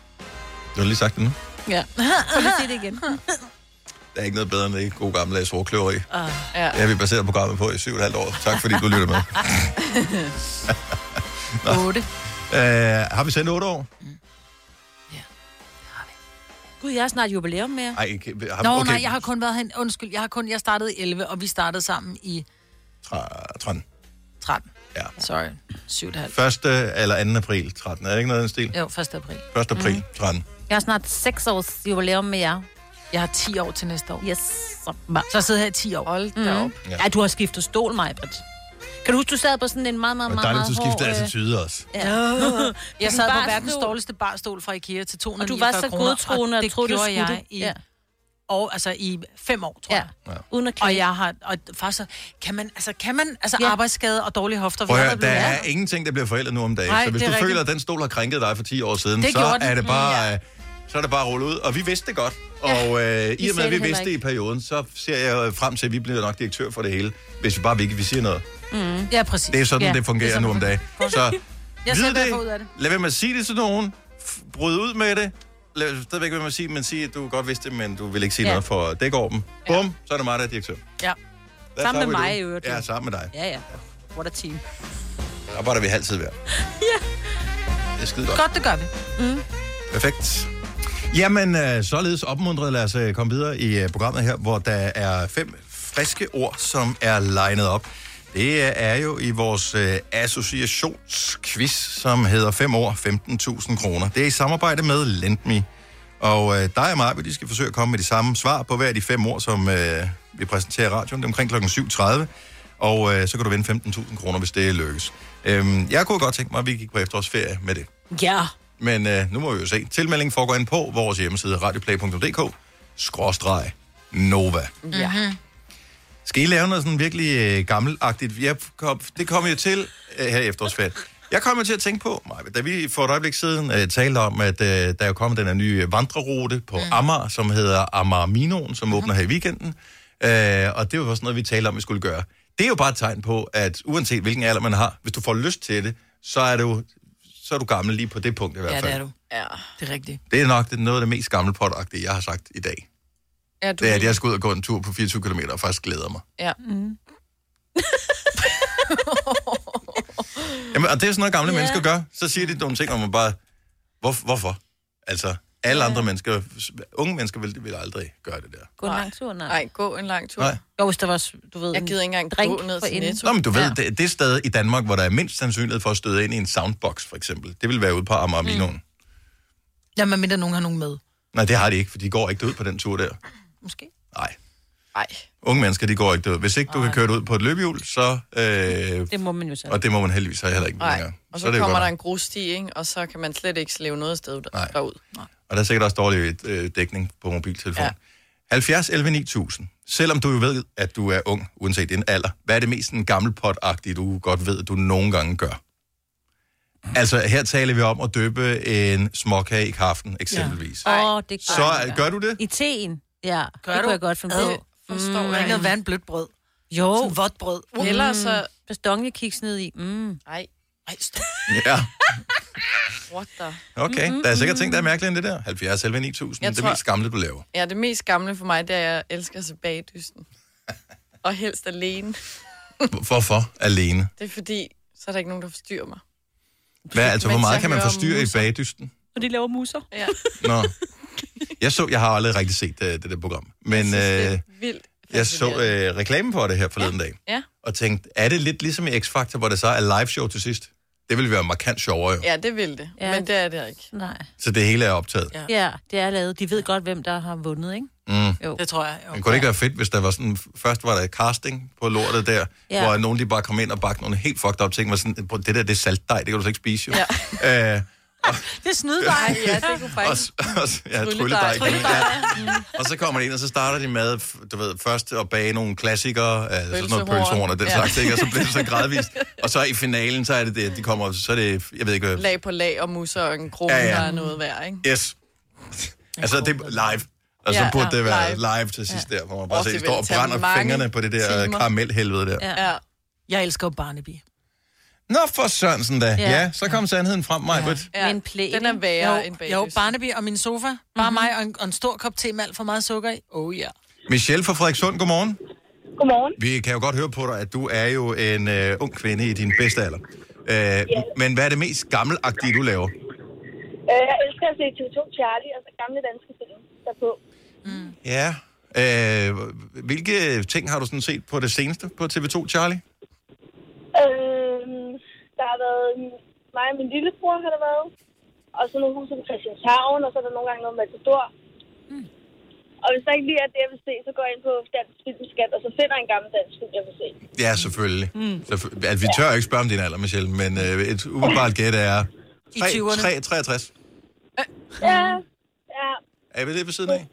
Du har lige sagt det nu. [laughs] Ja. Kan du sige det [laughs] igen? Der er ikke noget bedre end det god gammeldags råkløveri. Uh, ja. Det har vi baseret programmet på i syv og et halvt år. Tak fordi du lytter [laughs] med. 8. Øh, har vi sendt otte år? Gud, jeg har snart jubilæum med jer. Ej, ikke- har, Nå, okay. nej, jeg har kun været hen... Undskyld, jeg har kun... Jeg startede i 11, og vi startede sammen i Tra- 13. 13. Ja. Sorry. 7,5. 1. eller 2. april 13. Er det ikke noget i den stil? Jo, 1. april. Mm. 1. april 13. Jeg har snart 6 års jubilæum med jer. Jeg har 10 år til næste år. Yes. Så jeg sidder her i 10 år. Hold da op. Ja. ja, Mhm. du har skiftet stol, Majbert. Kan du huske, du sad på sådan en meget, meget, Og meget, dejligt, meget at du hård, skifter øh, attitude også. [laughs] [laughs] Ja. Jeg sad på Barstol. verdens dårligste barstol fra Ikea til 249 Og du var så kroner, godtroende og og det troede, du gjorde skulle jeg det. i, Ja. og, altså, i fem år, tror ja. jeg. Ja. Uden at og jeg har, og faktisk, så- kan man, altså, kan man, altså ja. arbejdsskade og dårlige hofter, Prøv vi at har høre, der blevet er ældre. ingenting, der bliver forældet nu om dagen. Nej, så hvis det du er føler, at rigtigt. den stol har krænket dig for 10 år siden, Det så gjorde den. er det Mm, bare... Øh, så er det bare rullet ud, og vi vidste det godt. Og øh, Vi i og med, sagde at vi det heller vidste det i ikke. perioden, så ser jeg øh, frem til, at vi bliver nok direktør for det hele, hvis vi bare ikke vi siger noget. Mm. Ja, præcis. Det er sådan, ja. ja, det fungerer det nu om dagen. Så Jeg vid ser, hvad jeg det. får ud af det. lad være med at sige det til nogen. F- Bryd ud med det. Lad stadigvæk være med at sige, men sige, at du godt vidste det, men du vil ikke sige Ja. ja. noget for at dække over dem. Bum, så er det mig, der er direktør. Ja. That's Sammen how med we mig do. i øvrigt. Ja, sammen med dig. Ja, ja. What a team. Der arbejder vi halvtid hver. Ja. Det er skide godt. Godt, det gør vi. Mm. Perfekt. Jamen, øh, således opmuntret, lad os øh, komme videre i øh, programmet her, hvor der er fem friske ord, som er legnet op. Det øh, er jo i vores øh, associationsquiz, som hedder 5 år 15.000 kroner. Det er i samarbejde med Lendme. Og øh, dig og mig, de skal forsøge at komme med de samme svar på hver af de fem ord, som øh, vi præsenterer i radioen. Det er omkring kl. 7.30. Og øh, så kan du vinde 15.000 kroner, hvis det lykkes. Øhm, jeg kunne godt tænke mig, at vi gik på efterårsferie med det. Ja. Men øh, nu må vi jo se. Tilmeldingen foregår ind på vores hjemmeside radioplay.dk skråstreg Nova. Ja. Skal I lave noget sådan virkelig øh, gammelagtigt? Jeg kom, det kom jeg til øh, her i efterårsferien. Jeg kommer til at tænke på, Maja, da vi for et øjeblik siden øh, talte om, at øh, der er jo kommet den her nye vandrerute på mm. Amager, som hedder Amager Minoen, som Mm-hmm. åbner her i weekenden. Øh, og det var sådan noget, vi talte om, vi skulle gøre. Det er jo bare et tegn på, at uanset hvilken alder man har, hvis du får lyst til det, så er du, så er du gammel lige på det punkt i hvert Ja, fald. det er du. Ja. Det er rigtigt. Det er nok det, noget af det mest gammelpotagtige, jeg har sagt i dag. Ja, Det er, at jeg skal ud og gå en tur på 24 km og faktisk glæder mig. Ja. Mm-hmm. Mm. Jamen, og det er sådan noget, gamle Ja. yeah. mennesker gør. Så siger de nogle ting, og man bare, hvor, hvorfor? Altså, alle andre mennesker, unge mennesker vil, vil aldrig gøre det der. Gå en lang tur, nej. Nej, gå en lang tur. Nej. Jo, hvis der var, du ved, Jeg gider ikke engang drink gå ned for til inden. Netto. Nå, men du ved, ja. det, det sted i Danmark, hvor der er mindst sandsynlighed for at støde ind i en soundbox, for eksempel, det vil være ude på Amager Mm. Ja, men mindre nogen har nogen med. Nej, det har de ikke, for de går ikke ud på den tur der. Måske. Nej. Nej. Unge mennesker, de går ikke ud. Hvis ikke du kan køre det ud på et løbehjul, så... Øh, Det må man jo selv. og det må man heldigvis heller ikke længere. Og så, så er det jo kommer godt. der en grussti, ikke? og så kan man slet ikke slæve noget sted der, derud. Og der er sikkert også dårlig øh, dækning på mobiltelefon. Ja. 70 11 9000. Selvom du jo ved, at du er ung, uanset din alder, hvad er det mest en gammel pot-agtige, du godt ved, at du nogle gange gør? Mm. Altså, her taler vi om at døbe en småkage i kaffen, eksempelvis. Åh, oh, det Så, øh, gør du det? I teen. Ja, Gør Gør det du? kunne jeg godt finde Ad, på. Mm. forstår jeg ikke. Hvad er en blødt brød? Jo. Sådan vådt brød. Mm. Eller så- Bastonjekiks ned i. Mm. Ej. Ej, [laughs] stop. Ja, What the? Mhm. okay. Der er sikkert ting, der er mærkeligere end det der. 70, 11, 9000. Mm-hmm, Jeg det er tror- mest gamle, du laver. Ja, det mest gamle for mig, det er, at jeg elsker at se [laughs] bagdysten. Og helst alene. Hvorfor alene? Det er fordi, så er der ikke nogen, der forstyrrer mig. Hvad, altså, hvor Mens meget jeg kan man hører forstyrre i musser. bagdysten? Og de laver musser. Ja. Nå. Jeg så, jeg har aldrig rigtig set uh, det der program, men øh, Vildt. jeg så øh, reklamen for det her forleden dag, Ja. og tænkte, er det lidt ligesom i X-Factor, hvor det så er live show til sidst? Det ville være markant sjovere jo. Ja, det vil det. Ja. Men det er det ikke. Nej. Så det hele er optaget. Ja. ja, det er lavet. De ved godt, hvem der har vundet, ikke? Mm. Jo. Det tror jeg. Men kunne det ikke være fedt, hvis der var sådan, først var der et casting på lortet der, Ja. ja. hvor nogen de bare kom ind og bagte nogle helt fucked up ting, var sådan, "Prøv, det der det er saltdej, det kan du så ikke spise jo. Ja. Øh, [laughs] Det er snyd Ej, dig. ja, det kunne og, s- og, s- ja, trylledej. Ja. Mm. Og så kommer de ind, og så starter de med, f- du ved, først at bage nogle klassikere, altså sådan noget Pølsehorn. pølsehorn og den Ja. slags, ikke? og så bliver det så [laughs] gradvist. Og så i finalen, så er det det, de kommer, så er det, jeg ved ikke, hvad- Lag på lag og musser og en krone, Ja, ja, ja. ja. der er noget værd, ikke? yes. Altså, det er live. Og så Ja, burde det ja, være live. live til sidst der, hvor man Åh, bare ser, det de står vil og tage brænder mange fingrene på det der øh, timer. karamelhelvede der. Ja. ja. Jeg elsker jo Barnaby. Nå for Sørensen da. Ja. Ja, ja så kom sandheden frem, Majbrit. Ja. En plæne. Den er værre Jo, jo, end Mhm. bagdysten. Jo, Barnaby og min sofa. Bare mig og en, og en stor kop te med alt for meget sukker i. Oh ja. Yeah. Michelle fra Frederikssund, godmorgen. Godmorgen. Vi kan jo godt høre på dig, at du er jo en øh, ung kvinde i din bedste alder. Øh, Men hvad er det mest gammelagtige, du laver? Øh, jeg elsker at se TV2 Charlie, altså gamle danske film, derpå. Ja. Øh, hvilke ting har du sådan set på det seneste på TV2, Charlie? Øh, der har været mm, mig og min lillebror, har der været. Og så nogle huse på Christianshavn, og så er der nogle gange noget Matador. Mm. Og hvis der ikke lige er det, jeg vil se, så går jeg ind på Dansk Filmskat, og så finder jeg en gammel dansk film, jeg vil se. Ja, selvfølgelig. Mm. Selvfø- altså, vi tør ikke spørge om din alder, Michelle, men øh, et umiddelbart gæt er... I 3, 20'erne. 3, 63. Ja, ja, Er vi det ved siden af?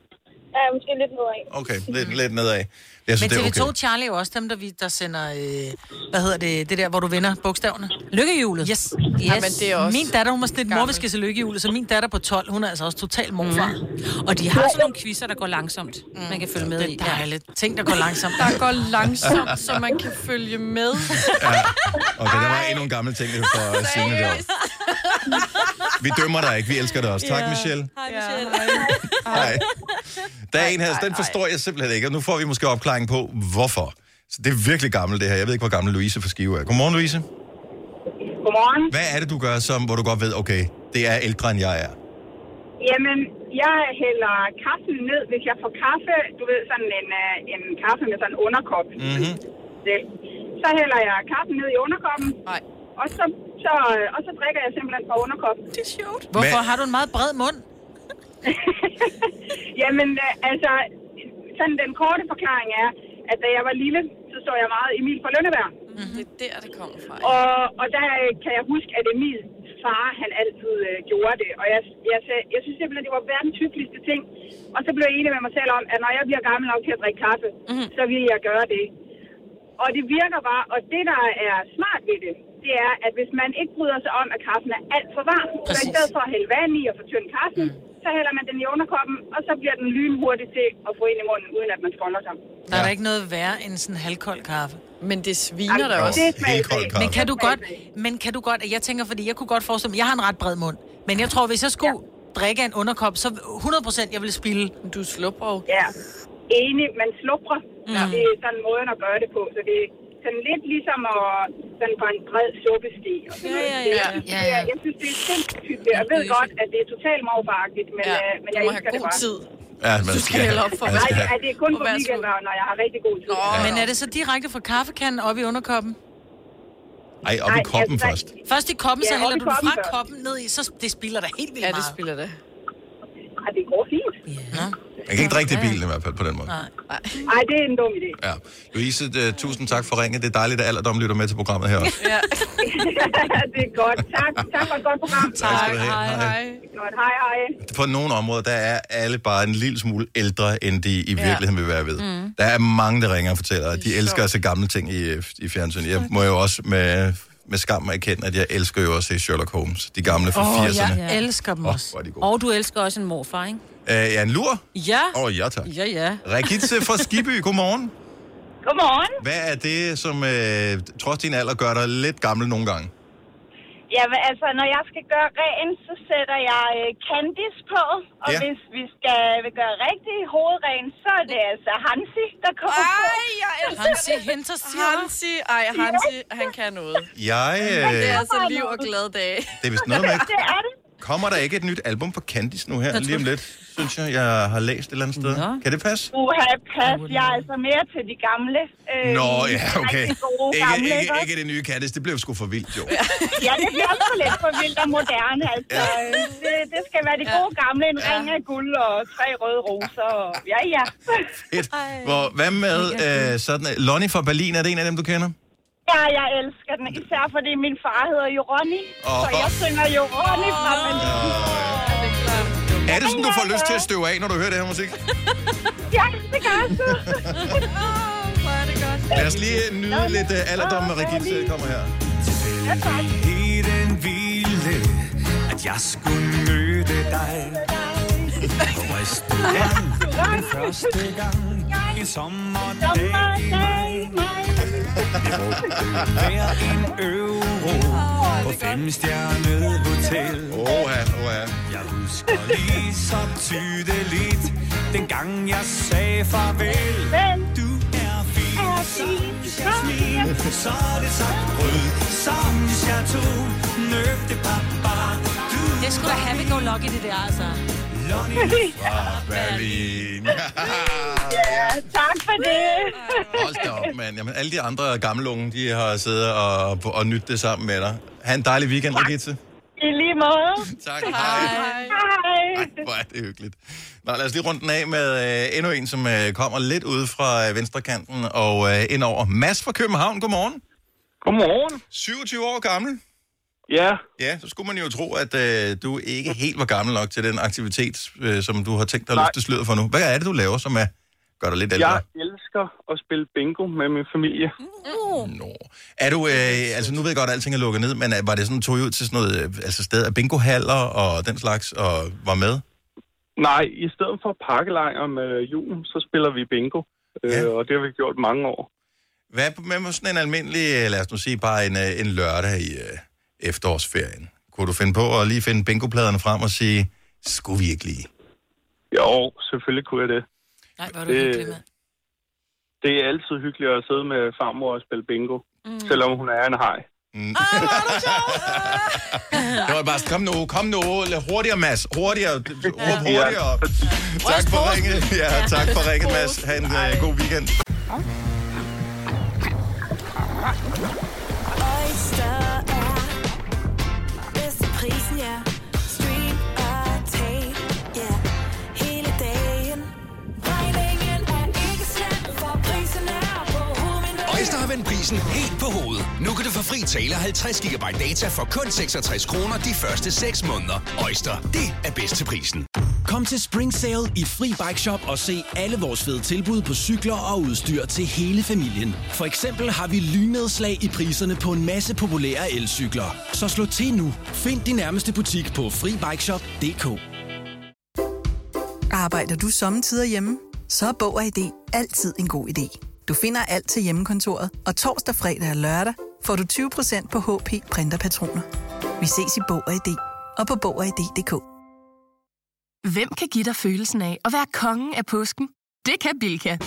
ja måske lidt nedad. Okay, lidt, lidt nedad. Jeg Men synes, det TV2 er okay. Charlie er jo også dem, der, vi, der sender, øh, hvad hedder det, det der, hvor du vinder bogstaverne. Lykkehjulet. Yes. yes. Ja, men det er også min datter, hun var sådan lidt, mor, vi gammelt. skal se lykkehjulet, så min datter på 12, hun er altså også totalt morfar. Mm. Og de har sådan nogle quizzer, der går langsomt, mm. man kan følge med i. Det er dejligt. Ting, der går langsomt. Der går langsomt, så man kan følge med. Okay, der var endnu en gammel ting for uh, Signe der. Vi dømmer dig ikke, vi elsker dig også. Tak, Ja. Michelle. Hej, Michelle. Hej. Der er en her, den forstår jeg simpelthen ikke, og nu får vi måske opklaring på, hvorfor. Så det er virkelig gammelt, det her. Jeg ved ikke, hvor gammel Louise fra Skive er. Godmorgen, Louise. Godmorgen. Hvad er det, du gør, som, hvor du godt ved, okay, det er ældre, end jeg er? Jamen, jeg hælder kaffen ned, hvis jeg får kaffe. Du ved, sådan en, øh, en kaffe med sådan en underkop. Mm-hmm. Det. Så hælder jeg kaffen ned i underkoppen. Nej. Og så, så, øh, og så drikker jeg simpelthen fra underkoppen. Det er sjovt. Hvorfor har du en meget bred mund? [laughs] Jamen, øh, altså, sådan den korte forklaring er, at da jeg var lille, så så jeg meget Emil fra Lønneberg. Det er der, det kommer fra. Og, og der øh, kan jeg huske, at Emils far, han altid øh, gjorde det. Og jeg, jeg, jeg, jeg synes simpelthen, det var verdens hyggeligste ting. Og så blev jeg enig med mig selv om, at når jeg bliver gammel nok til at drikke kaffe, Mhm. mm. så vil jeg gøre det. Og det virker bare, og det der er smart ved det, det er, at hvis man ikke bryder sig om, at kaffen er alt for varm, så i stedet for at hælde vand i og fortynde kaffen, mm. så hælder man den i underkoppen, og så bliver den lynhurtig til at få ind i munden, uden at man skolder sig. Der er da ikke noget værre end sådan en halvkold kaffe. Men det sviner da også. Det er Helt kold kaffe. Men kan du godt, men kan du godt, jeg tænker, fordi jeg kunne godt forestille mig, jeg har en ret bred mund, men jeg tror, hvis jeg skulle ja. drikke af en underkop, så 100% jeg ville spille. Du slupper jo. Ja, enig. Man slupper. Ja. Det er sådan måden at gøre det på. Så det er sådan lidt ligesom at sådan fra en bred suppeske. Og sådan Ja, noget. Det- ja, ja. det Ja, er- ja. Jeg synes, det er sindssygt. Jeg ved godt, at det er totalt morfaragtigt, men, Ja, ja, men du jeg må have elsker det god bare. tid. [laughs] Ja, Altså, Du skal hælde op [laughs] for- man Nej, skal ja, have- det er kun Og på vær så god. weekender, når jeg har rigtig god tid. Ja. Men er det så direkte fra kaffekanden op i underkoppen? Ej, op i koppen først. Først i koppen, ja, Ja, så op hælder i du det koppen fra først. koppen ned i, så det spiller da helt vildt Ja, det meget. spiller det. Ej, det går fint. Man kan ikke drikke det i bilen i hvert fald på den måde. Nej, det er en dum idé. Ja. Louise, øh, tusind tak for ringet. Det er dejligt, at alderdom lytter med til programmet her også. Ja. [laughs] det er godt. Tak, tak for et godt program. Tak skal du have. Hej, Hej. hej. Det er Godt, hej, hej. på nogle områder, der er alle bare en lille smule ældre, end de i Ja. virkeligheden vil være ved. Mm. Mm. øh, Der er mange, der ringer og fortæller, at de elsker at se gamle ting i, i fjernsynet. Jeg må jo også med med skam erkende, at jeg elsker jo også at se Sherlock Holmes. De gamle fra Åh, 80'erne. jeg elsker dem Åh, også. hvor er de Og du elsker også en morfar, ikke? Øh, ja, en lur? Ja. Åh, oh, ja tak. Ja, ja. Rikitse fra Skiby, godmorgen. Godmorgen. Hvad er det, som øh, trods din alder gør dig lidt gammel nogle gange? Jamen, altså, når jeg skal gøre rent, så sætter jeg øh, Candice på. Og ja. Ja. hvis vi skal øh, gøre rigtig hovedrent, så er det altså Hansi, der kommer på. Ej, jeg elsker Hansi det. Hinter, siger du? Hansi, ej, Hansi, han kan noget. Jeg, øh, Det er altså liv og glade dage. Det er vist noget med- Det er det. kommer der ikke et nyt album på Candice nu her Jeg lige om tror- lidt, synes jeg, jeg har læst et eller andet sted. Kan det passe? Uha, pas. Jeg er altså mere til de gamle. Øh, Nå, ja, okay. Rigtig gode gamle, Ikke, ikke, ikke? ikke det nye Candice, det blev sgu for vildt, jo. [laughs] Ja, det bliver også for lidt for vildt og moderne. Altså, Øh, det, det skal være de gode gamle. En ring af guld og tre røde roser. Og, ja, ja. Fedt. Hvor, hvad med øh, sådan... Lonnie fra Berlin, er det en af dem, du kender? Ja, jeg elsker den. Især fordi min far hedder jo Ronny. Så Åh. jeg synger jo Ronny fra Berlin. Er det sådan, du får lyst til at støve af, når du hører det her musik? Ja, det gør jeg så. Lad os lige øh, nyde lidt øh, alderdom med Regitze, kommer her. Tilfældigheden ville, at jeg skulle møde dig. På restauranten første gang en sommerdag. Jeg brugte hver en euro på femstjernet hotel. Oha, oha. Jeg husker lige så tydeligt, dengang jeg sagde farvel. Du er fin, som jeg smiler, så er det sagt rød, som jeg tog. Nøbte pappa, du Det skulle da have go lucky, det der, altså. [laughs] Lonnie Fra Berlin. Ja, tak for det. Hold da op, mand. Jamen, alle de andre gamle unge, de har siddet og, og nyttet det sammen med dig. Ha' en dejlig weekend, Regitze. I lige måde. Tak. Hej. Hej. [laughs] Hvor er det hyggeligt. Nå, lad os lige runde den af med øh, endnu en, som øh, kommer lidt ude fra øh, venstre kanten og øh, indover. Mads fra København, godmorgen. Godmorgen. 27 år gammel. Ja. Ja, så skulle man jo tro, at øh, du ikke helt var gammel nok til den aktivitet, øh, som du har tænkt dig at løfte sløret for nu. Hvad er det, du laver, som er, gør dig lidt ældre? Jeg elsker at spille bingo med min familie. Nå. Er du, øh, altså nu ved jeg godt, at alting er lukket ned, men øh, var det sådan, tog I ud til sådan noget, øh, altså sted af bingohaller og den slags, og var med? Nej, i stedet for pakkelejr om øh, julen, så spiller vi bingo. Ja. Øh, og det har vi gjort mange år. Hvad med med sådan en almindelig, øh, lad os nu sige, bare en, øh, en lørdag i øh, efterårsferien? Kunne du finde på at lige finde bingopladerne frem og sige, skulle vi ikke lige? Jo, selvfølgelig kunne jeg det. Nej, hvor er du hyggelig, det er altid hyggeligt at sidde med farmor og spille bingo, mm. selvom hun er en hej. [laughs] Det var bare, sådan, kom nu, kom nu, la- hurtigere Mads, hurtigere, d- råb Ja. hurtigere. op. Tak for ringet, ja, tak for ringet Mads. Ha' en øh, god weekend. Oyster er bedst til prisen, ja. Stream og tag, ja. Hele dagen. Regningen er ikke slem, for prisen er på hovedet. Øjster har vendt prisen helt på hovedet. Nu kan du få fri tale 50 GB data for kun 66 kroner de første 6 måneder. Øjster, det er bedst til prisen. Kom til Spring Sale i Fri Bike Shop og se alle vores fede tilbud på cykler og udstyr til hele familien. For eksempel har vi lynedslag i priserne på en masse populære elcykler. Så slå til nu. Find din nærmeste butik på FriBikeShop.dk Arbejder du sommetider hjemme? Så er Bog og ID altid en god idé. Du finder alt til hjemmekontoret, og torsdag, fredag og lørdag får du 20% på HP printerpatroner. Vi ses i Bog og ID og på Bog og ID.dk. Hvem kan give dig følelsen af at være kongen af påsken? Det kan Bilka!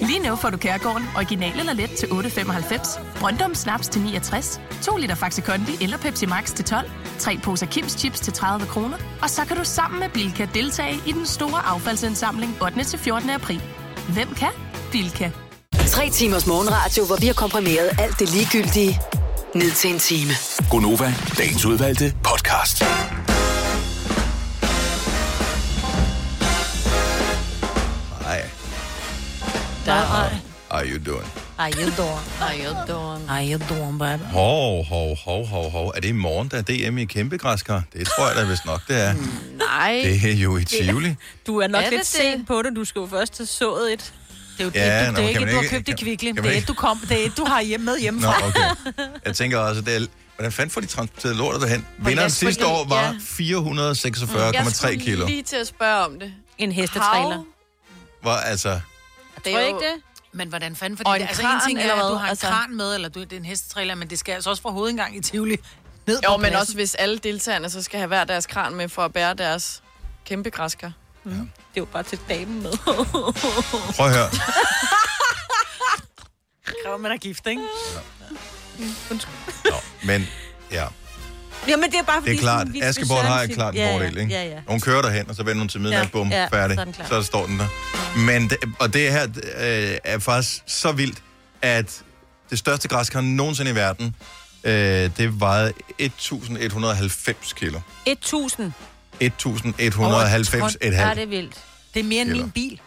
Lige nu får du Kærgården original eller let til 8.95, Brøndum Snaps til 69, 2 liter Faxi Kondi eller Pepsi Max til 12, 3 poser Kims Chips til 30 kroner, og så kan du sammen med Bilka deltage i den store affaldsindsamling 8. til 14. april. Hvem kan? Bilka. Tre timers morgenradio, hvor vi har komprimeret alt det ligegyldige ned til en time. Gonova, dagens udvalgte podcast. Hej, Nej. are you doing? Ej, jeg dår. Ej, jeg dår. Ej, jeg dår, baby. Hov, hov, hov, hov, hov. Er det i morgen, der er DM i kæmpegræskar? Det tror jeg da vist nok, det Mm. er. Nej. Det er jo i Tivoli. Du er nok Er er det lidt det? sent på det. Du skal jo først have sået et. Det er jo Ja, ja, nå, det, du, kan dækket, man du har ikke- købt i kan- Kvickly. kan Det man er ikke- et, du kom, det er et, du har hjemme med Nå, hjemmefra. okay. Jeg tænker også, at det er Hvordan fanden får de transporteret lortet derhen? Vinderen sidste år var 446,3 Mm, Jeg kilo. skulle lige til at spørge om det. En hestetræler. Hvor altså... Det er er jo- jo... ikke det? Men hvordan fanden? Fordi Og og en det, altså, kran, en ting er, eller at hvad? du har en Altså- altså... kran med, eller du, det er en hestetræler, men det skal altså også fra hovedindgang i Tivoli. Ned Jo, på men pladsen. også hvis alle deltagerne så skal have hver deres kran med for at bære deres kæmpe græsker. Mm. Det er jo bare til damen med. Prøv at høre. Kræver, man er gift, ikke? Men ja, Ja, men det er bare Ah, det fordi... er klart. sådan, vi- vi Askeborg har sådan- klart en ja, ja, fordel, ikke? Ja, ja. Og Hun kører derhen, og så vender hun til midnat, Ja, bum, ja, færdig. så er den klar. Så står den der. Men det, og det her øh, er faktisk så vildt, at det største græskar nogensinde i verden, øh, det vejede 1190 kilo. 1000. 1190 et Ja, halvt. det er vildt. Det er mere end Kilo. min bil.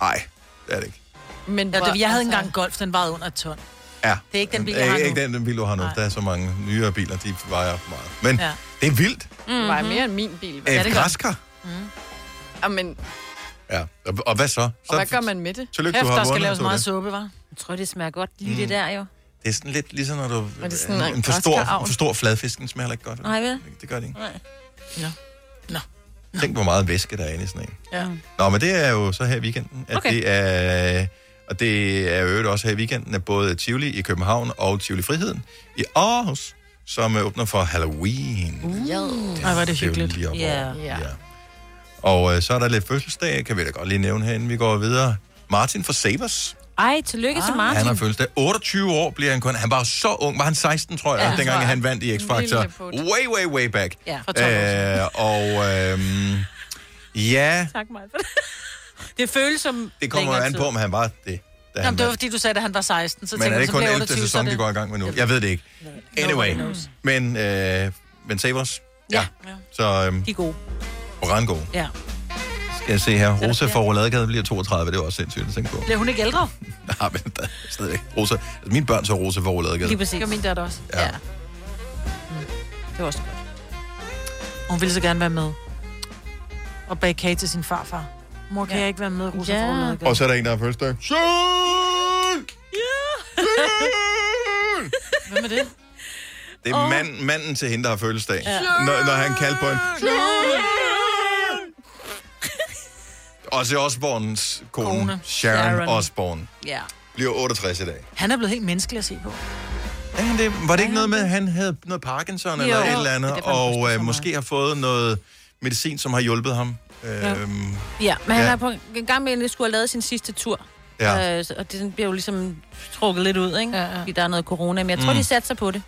Nej, det er det ikke. Men ja, hvor- det, jeg havde altså- engang golf, den vejede under et ton. Ja. Det er ikke den bil, Øh, jeg har Ikke den, den bil, du har nu. Nej. Der er så mange nyere biler, de vejer meget. Men Ja. det er vildt. [laughs] Mm-hmm. var mere end min bil. Ja, det gør- græskar? Mm. Jamen, Ja. Og, og hvad så? så og hvad gør man med det? Tillykke, du har vundet. så det. suppe, var. Jeg tror, det smager godt lige Mm. mm. det der, jo. Det er sådan lidt ligesom, når du... Er det sådan en, en en, for stor, græskararv? en for stor fladfisk, den smager heller ikke godt. Nej, vel? Det gør det ikke. Nej. Tænk, hvor meget væske der er inde i sådan en. Ja. Nå, men det er jo så her i weekenden, at okay. Okay. det er... Og det er jo øvrigt også her i weekenden, at både Tivoli i København og Tivoli Friheden i Aarhus, som øh, åbner for Halloween. Uh. Ej, hvor er det Det er jo hyggeligt. lige op Ja. Ja. Og øh, så er der lidt fødselsdag, kan vi da godt lige nævne her, inden vi går videre. Martin fra Sabers. Ej, tillykke ah. til Martin. Han har fødselsdag. 28 år bliver han kun. Han var så ung. Var han 16, tror jeg, ja, Ja. dengang Tror han vandt i X-Factor. Lille put. Way, way, way back. Ja. For 12 øh, og øhm, ja, Tak [laughs] mig for det. Det føles som det kommer jo længere an tid. på, om han var det. Da han Jamen, det var vandt. fordi, du sagde, at han var 16, så men tænkte er jeg, det så kun bliver 11. 28, så sæson, er de det- går i gang med nu? Jeg ved det ikke. Anyway, men, øh, men Sabers. Ja. Så øhm, De er gode. Brango. Ja. Skal jeg se her. Rosa fra Roladegade bliver 32. Det var også sindssygt at tænke på. Bliver hun ikke ældre? [laughs] Nej, men der er stadigvæk. Rosa. Altså, mine børn så Rosa for Lige Roladegade. præcis. Det var min datter også. Ja. Mm. Det var også godt. Hun ville så gerne være med. Og bage kage til sin farfar. Mor, kan ja. jeg ikke være med, Rosa Ja. ja. Og så er der en, der har fødselsdag. Hvem er det? Det er mand, manden til hende, der har fødselsdag. Ja. Når, når han kaldte på en. Og så Osborns kone, Kone. Sharon, Sharon Sharon. Osborn, Ja. bliver 68 i dag. Han er blevet helt menneskelig at se på. Er han det? Var det ikke noget med, at han havde noget Parkinson eller Jo. et eller andet, Det er derfor, han og øh, måske har fået noget medicin, som har hjulpet ham? Ja. Øhm, Ja, men han Ja. har på en gang med, at han skulle have lavet sin sidste tur. Ja. Øh, så- og det sådan bliver jo ligesom trukket lidt ud, ikke? Ja, ja. Fordi der er noget corona, men jeg tror, Mm. mm. de satte sig på det.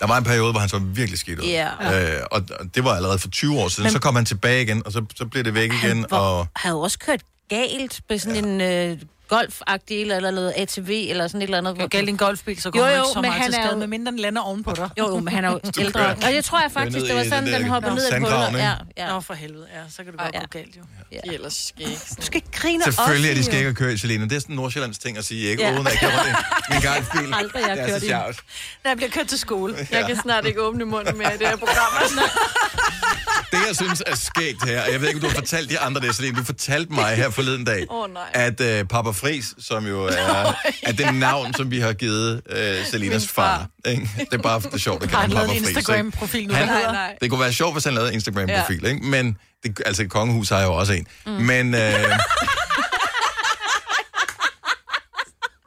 Der var en periode, hvor han så virkelig skidt ud. Ja. Øh, og og det var allerede for 20 år siden. Men... Men- Så kom han tilbage igen, og så, så blev det væk igen. Hvor Og... havde jo også kørt galt på sådan ja. en øh, golfagtig eller, eller noget ATV eller sådan et eller andet. Hvor... galt i en golfbil, så jo, kommer jo, man ikke så men meget han til er skade, jo- med mindre den lander ovenpå dig. Jo, jo, men han er jo [laughs] Du ældre. kører- Og jeg tror jeg faktisk, kører det var ned i øh, sådan, den den der hopper ned i sandgraven, hullet. ikke? Ja, ja. Nå, for helvede, ja. Så kan du godt gå galt, jo. Ja. De er ellers skægt. Du skal ikke grine Selvfølgelig er også, de jo. skal ikke at køre i Selena. Det er sådan en Nordsjællands ting at sige, ikke? Ja. Ja. Uden at jeg gjorde det. Min gang bil. Aldrig, jeg det har er kørt så i. sjovt. Jeg bliver kørt til [laughs] skole. Ja. Jeg kan snart ikke åbne munden mere i det her program. Det, jeg synes er skægt her, og jeg ved ikke, om du har fortalt de andre det, Selena. Du fortalte mig her forleden dag, [laughs] Åh, nej. at øh, Papa Fris, som jo er, Nå, er det navn, som vi har givet øh, Selinas far. ikke? Det er bare for sjovt [laughs] at Har kalde han ham lavet Papa en Fris. ikke? Instagram-profil nu, der Han- hedder? Det kunne være sjovt, hvis han lavede en Instagram-profil, ikke? Men, det, altså, Kongehus har jo også en. Mm. [laughs] Men, øh,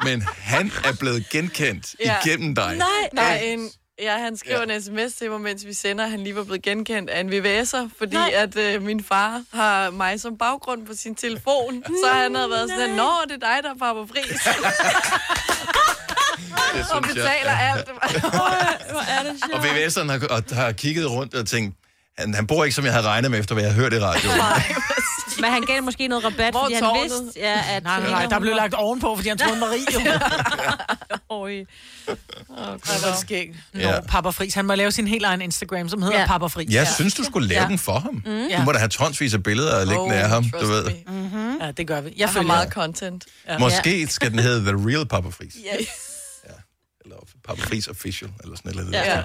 men han er blevet genkendt ja. igennem dig. Nej, nej. En, ja, han skriver ja. en sms til mig, mens vi sender, at han lige var blevet genkendt af en VVS'er, fordi nej. at øh, min far har mig som baggrund på sin telefon. så han havde været sådan, nå, det er dig, der er Papa Friis. [laughs] Det og synes jeg. betaler [laughs] alt. Hvor er det Og VVS'eren har, og, har kigget rundt og tænkt, han, han bor ikke, som jeg havde regnet med, efter hvad jeg hørte i radioen. Men han gav måske noget rabat, Hvor fordi han tårnet? vidste, ja, at... Nej, nej, nej, der blev lagt ovenpå, fordi han troede Marie. [laughs] Jo. Oj. Ej, hvor skægt. Nå, Ja. Papa Friis. Han må lave sin helt egen Instagram, som hedder ja. Papa Friis. Jeg synes, du skulle lave den for ham. Mm. Du må da have tonsvis af billeder og liggende af ham, du ved. Mm-hmm. Ja, det gør vi. Jeg Jeg har følger meget content. Ja. Måske skal den hedde The Real Papa Fris. Yes. Papa Fris Official, eller sådan et eller andet. Ja. Ja.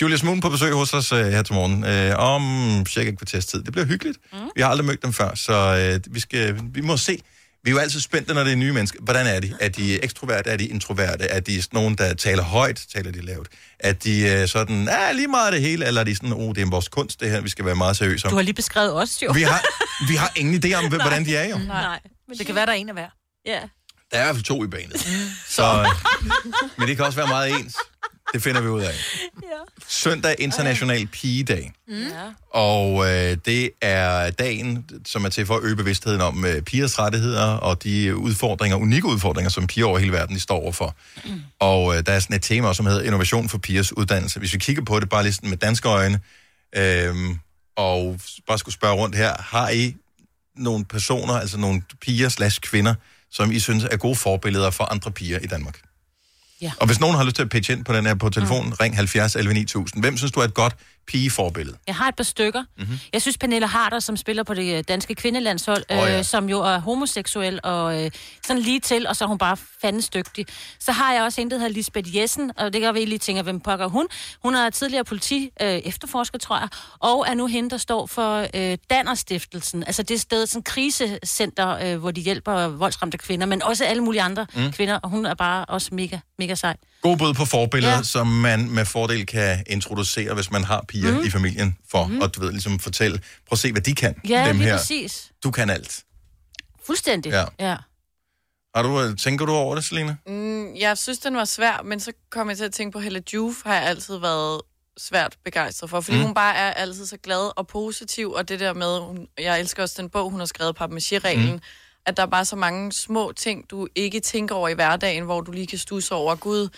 Julius Moon på besøg hos os uh, her til morgen uh, om cirka et kvarters tid. Det bliver hyggeligt. Mm. øh, Vi har aldrig mødt dem før, så uh, vi, skal, vi må se. Vi er jo altid spændte, når det er nye mennesker. Hvordan er de? Er de ekstroverte? Er de introverte? Er de sådan nogen, der taler højt? Taler de lavt? Er de øh, sådan, ja, lige meget af det hele? Eller er de sådan, oh, det er vores kunst, det her, vi skal være meget seriøse om? Du har lige beskrevet os jo. Vi har, vi har ingen idé [laughs] om, hvem- hvordan de er jo. Nej. Men det kan være, der er en af hver. Ja. Der er i hvert fald to i banet. Så, øh. [laughs] men det kan også være meget ens. Det finder vi ud af. Søndag er International Pigedag. Ja. Og øh, det er dagen, som er til for at øge bevidstheden om øh, pigers rettigheder og de udfordringer, unikke udfordringer, som piger over hele verden de står overfor. Mm. Og øh, der er sådan et tema, også, som hedder innovation for pigers uddannelse. Hvis vi kigger på det bare lige sådan med danske øjne, øh, og bare skulle spørge rundt her, har I nogle personer, altså nogle piger slash kvinder, som I synes er gode forbilleder for andre piger i Danmark? Ja. Og hvis nogen har lyst til at pitche ind på den her på telefonen, mm. ring 70 11 9000. Hvem synes du er et godt pigeforbillede? Jeg har et par stykker. Mm-hmm. Jeg synes, Pernille Harder, som spiller på det øh, danske kvindelandshold, Mhm. Åh, oh, ja. ja. øh, som jo er homoseksuel og øh, sådan lige til, og så er hun bare fandens dygtig. Så har jeg også en, der hedder Lisbeth Jessen, og det kan vi lige tænker, hvem pokker hun. Hun er tidligere politi øh, efterforsker, tror jeg, og er nu hende, der står for øh, Dannerstiftelsen. Altså det sted, sådan krisecenter, øh, hvor de hjælper voldsramte kvinder, men også alle mulige andre Mm. mm. kvinder, og hun er bare også mega, mega sej. God bud på forbilleder, ja. Ja. som man med fordel kan introducere, hvis man har piger Mhm. mm. i familien, for mm. at du ved, ligesom fortælle, prøv at se, hvad de kan, Ja, dem lige her. præcis. Du kan alt. Fuldstændig. Ja. ja. Har du, øh, tænker du over det, Selina? Mm, jeg synes, den var svær, men så kom jeg til at tænke på Hella Juf, har jeg altid været svært begejstret for, fordi Mm. mm. hun bare er altid så glad og positiv, og det der med, hun, jeg elsker også den bog, hun har skrevet, Papmaché-reglen, Mm. mm. at der er bare så mange små ting, du ikke tænker over i hverdagen, hvor du lige kan stusse over, gud,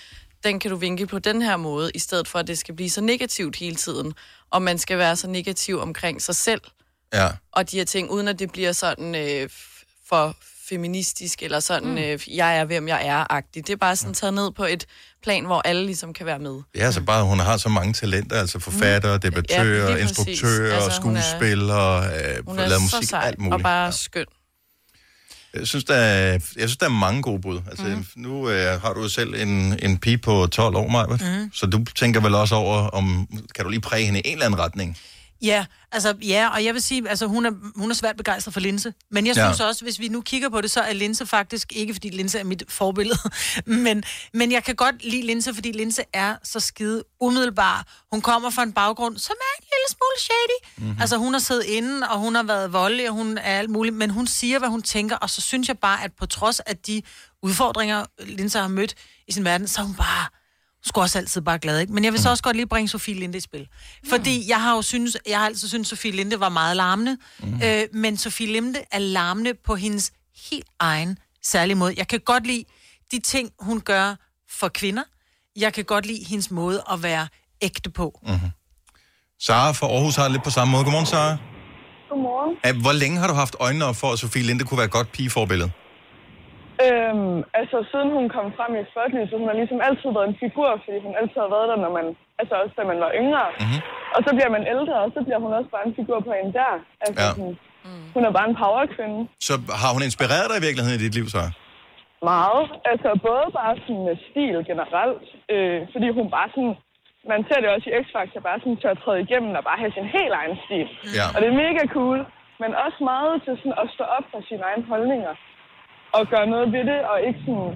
den kan du vinkle på den her måde, i stedet for, at det skal blive så negativt hele tiden, og man skal være så negativ omkring sig selv, Ja. og de her ting, uden at det bliver sådan øh, f- for feministisk, eller sådan, Mm. mm. øh, jeg er, hvem jeg er-agtigt. Det er bare sådan taget ned på et plan, hvor alle ligesom kan være med. Det er altså bare, hun har så mange talenter, altså forfatter, debattører, Mhm. Ja, ja, lige præcis. instruktører, altså, Altså, hun er- skuespillere, øh, Hun lavet er så musik, sej alt muligt. og bare ja. skøn. Jeg synes, der er, jeg synes, der er mange gode bud. Altså, Mhm. mm. Nu øh, har du jo selv en, en pige på 12 år, Maja, mm. Mhm. så du tænker vel også over, om kan du lige præge hende i en eller anden retning? Ja, altså, ja, og jeg vil sige, altså, hun er, hun er svært begejstret for Linse. Men jeg Ja. synes også, hvis vi nu kigger på det, så er Linse faktisk, ikke fordi Linse er mit forbillede, [laughs] men, men jeg kan godt lide Linse, fordi Linse er så skide umiddelbar. Hun kommer fra en baggrund, som er en lille smule shady. Mm-hmm. Altså, hun har siddet inde, og hun har været voldelig, og hun er alt muligt, men hun siger, hvad hun tænker, og så synes jeg bare, at på trods af de udfordringer, Linse har mødt i sin verden, så er hun bare hun skulle også altid bare glad, ikke? Men jeg vil så også godt lige bringe Sofie Linde i spil. Fordi jeg har jo synes, jeg har altid syntes, Sofie Linde var meget larmende. Mhm. Mm. Øh, men Sofie Linde er larmende på hendes helt egen særlige måde. Jeg kan godt lide de ting, hun gør for kvinder. Jeg kan godt lide hendes måde at være ægte på. Mm-hmm. Sara fra Aarhus har det lidt på samme måde. Godmorgen, Sara. Godmorgen. Øh, Hvor længe har du haft øjnene op for, at Sofie Linde kunne være et godt pigeforbillede? Øhm, altså, siden hun kom frem i Spotlight, så hun har ligesom altid været en figur, fordi hun altid har været der, når man, altså også da man var yngre. Mm-hmm. Og så bliver man ældre, og så bliver hun også bare en figur på en der. Altså, Ja. ja. hun, hun er bare en powerkvinde. Så har hun inspireret dig i virkeligheden i dit liv, Sara? Meget. Altså, både bare sådan med stil generelt, øh, fordi hun bare sådan, man ser det også i X-Factor, bare sådan tør træde igennem og bare have sin helt egen stil. Ja. Og det er mega cool, men også meget til sådan at stå op for sine egne holdninger og gøre noget ved det, og ikke sådan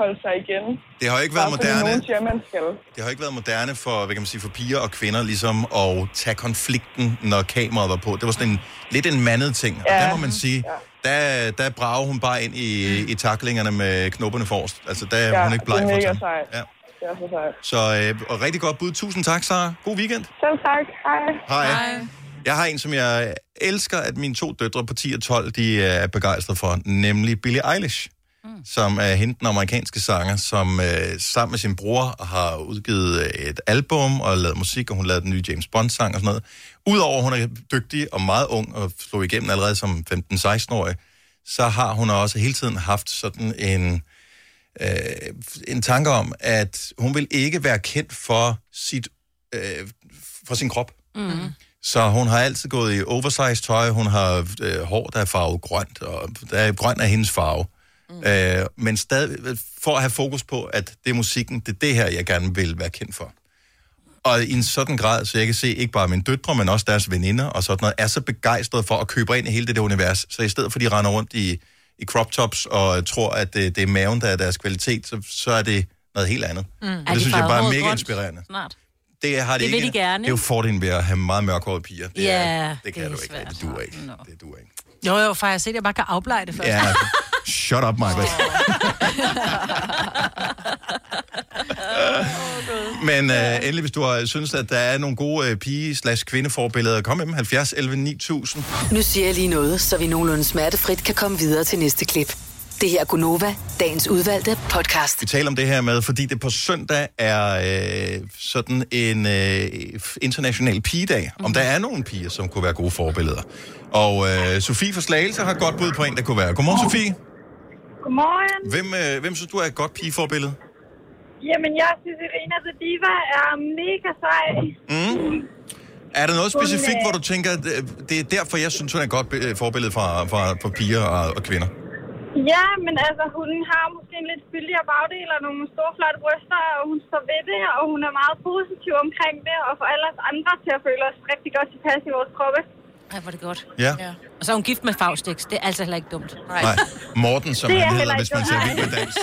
holde sig igen. Det har jo ikke været Bare fordi moderne. Nogen siger, man skal. Det har jo ikke været moderne for, hvad kan man sige, for piger og kvinder ligesom at tage konflikten, når kameraet var på. Det var sådan en, lidt en mandet ting. Ja. Og der må man sige, der, der brager hun bare ind i, i taklingerne med knopperne forrest. Altså, der er hun ikke bleg Mm. det for er mega sejt. det. Ja. Det er så sejt. Så øh, og rigtig godt bud. Tusind tak, Sara. God weekend. Selv tak. Hej. Hej. Hej. Jeg har en, som jeg elsker, at mine to døtre på 10 og 12, de øh, er begejstrede for, nemlig Billie Eilish, mm. som er hende, den amerikanske sanger, som øh, sammen med sin bror har udgivet øh, et album og lavet musik, og hun lavede den nye James Bond-sang og sådan noget. Udover at hun er dygtig og meget ung og slog igennem allerede som 15-16-årig, så har hun også hele tiden haft sådan en, øh, en tanke om, at hun vil ikke være kendt for, sit, øh, for sin krop. Mm. Så hun har altid gået i oversized tøj, hun har øh, hår, der er farvet grønt, og der er, grøn er hendes farve. Mm. Øh, men stadig for at have fokus på, at det er musikken, det er det her, jeg gerne vil være kendt for. Og i en sådan grad, så jeg kan se ikke bare mine døtre, men også deres veninder og sådan noget, er så begejstret for at købe ind i hele det der univers. Så i stedet for, at de render rundt i i crop tops og tror, at øh, det, det er maven, der er deres kvalitet, så, så er det noget helt andet. Mm. Og det synes jeg bare er mega inspirerende. Snart. Det har de Det ikke. vil de gerne, Det er jo ikke? fordelen ved at have meget mørkhårede piger. Det, Ja, er, det kan det du er ikke. svært. Det duer ikke. Det duer ikke. Jo, jo, for jeg har set, at jeg bare kan afbleje det først. Ja, shut up, Michael. Men øh, endelig, hvis du har synes, at der er nogle gode øh, pige-slash-kvindeforbilleder, kom med dem. 70 11 9000. Nu siger jeg lige noget, så vi nogenlunde smertefrit kan komme videre til næste klip. Det her er Gunova, dagens udvalgte podcast. Vi taler om det her med, fordi det på søndag er øh, sådan en øh, international pigedag. Om der er nogle piger, som kunne være gode forbilleder. Og øh, Sofie fra Slagelse har et godt bud på en, der kunne være. Godmorgen, Sofie. Godmorgen. Hvem, øh, hvem synes du er et godt pigeforbillede? Jamen, jeg synes, Irina The Altså, Diva er mega sej. Mm. Er der noget Hun, specifikt, øh, hvor du tænker, at øh, det er derfor, jeg synes, hun er et godt øh, forbillede for, for, for piger og, og kvinder? Ja, men altså, hun har måske en lidt fyldigere bagdel og nogle store, flotte bryster, og hun står ved det, og hun er meget positiv omkring det, og får alle os andre til at føle os rigtig godt tilpas i vores kroppe. Ja, var det godt. Ja. Og så er hun gift med Faustix. Det er altså heller ikke dumt. Nej. Morten, som Det er han hedder, heller hvis ikke man ser godt. vild med dans.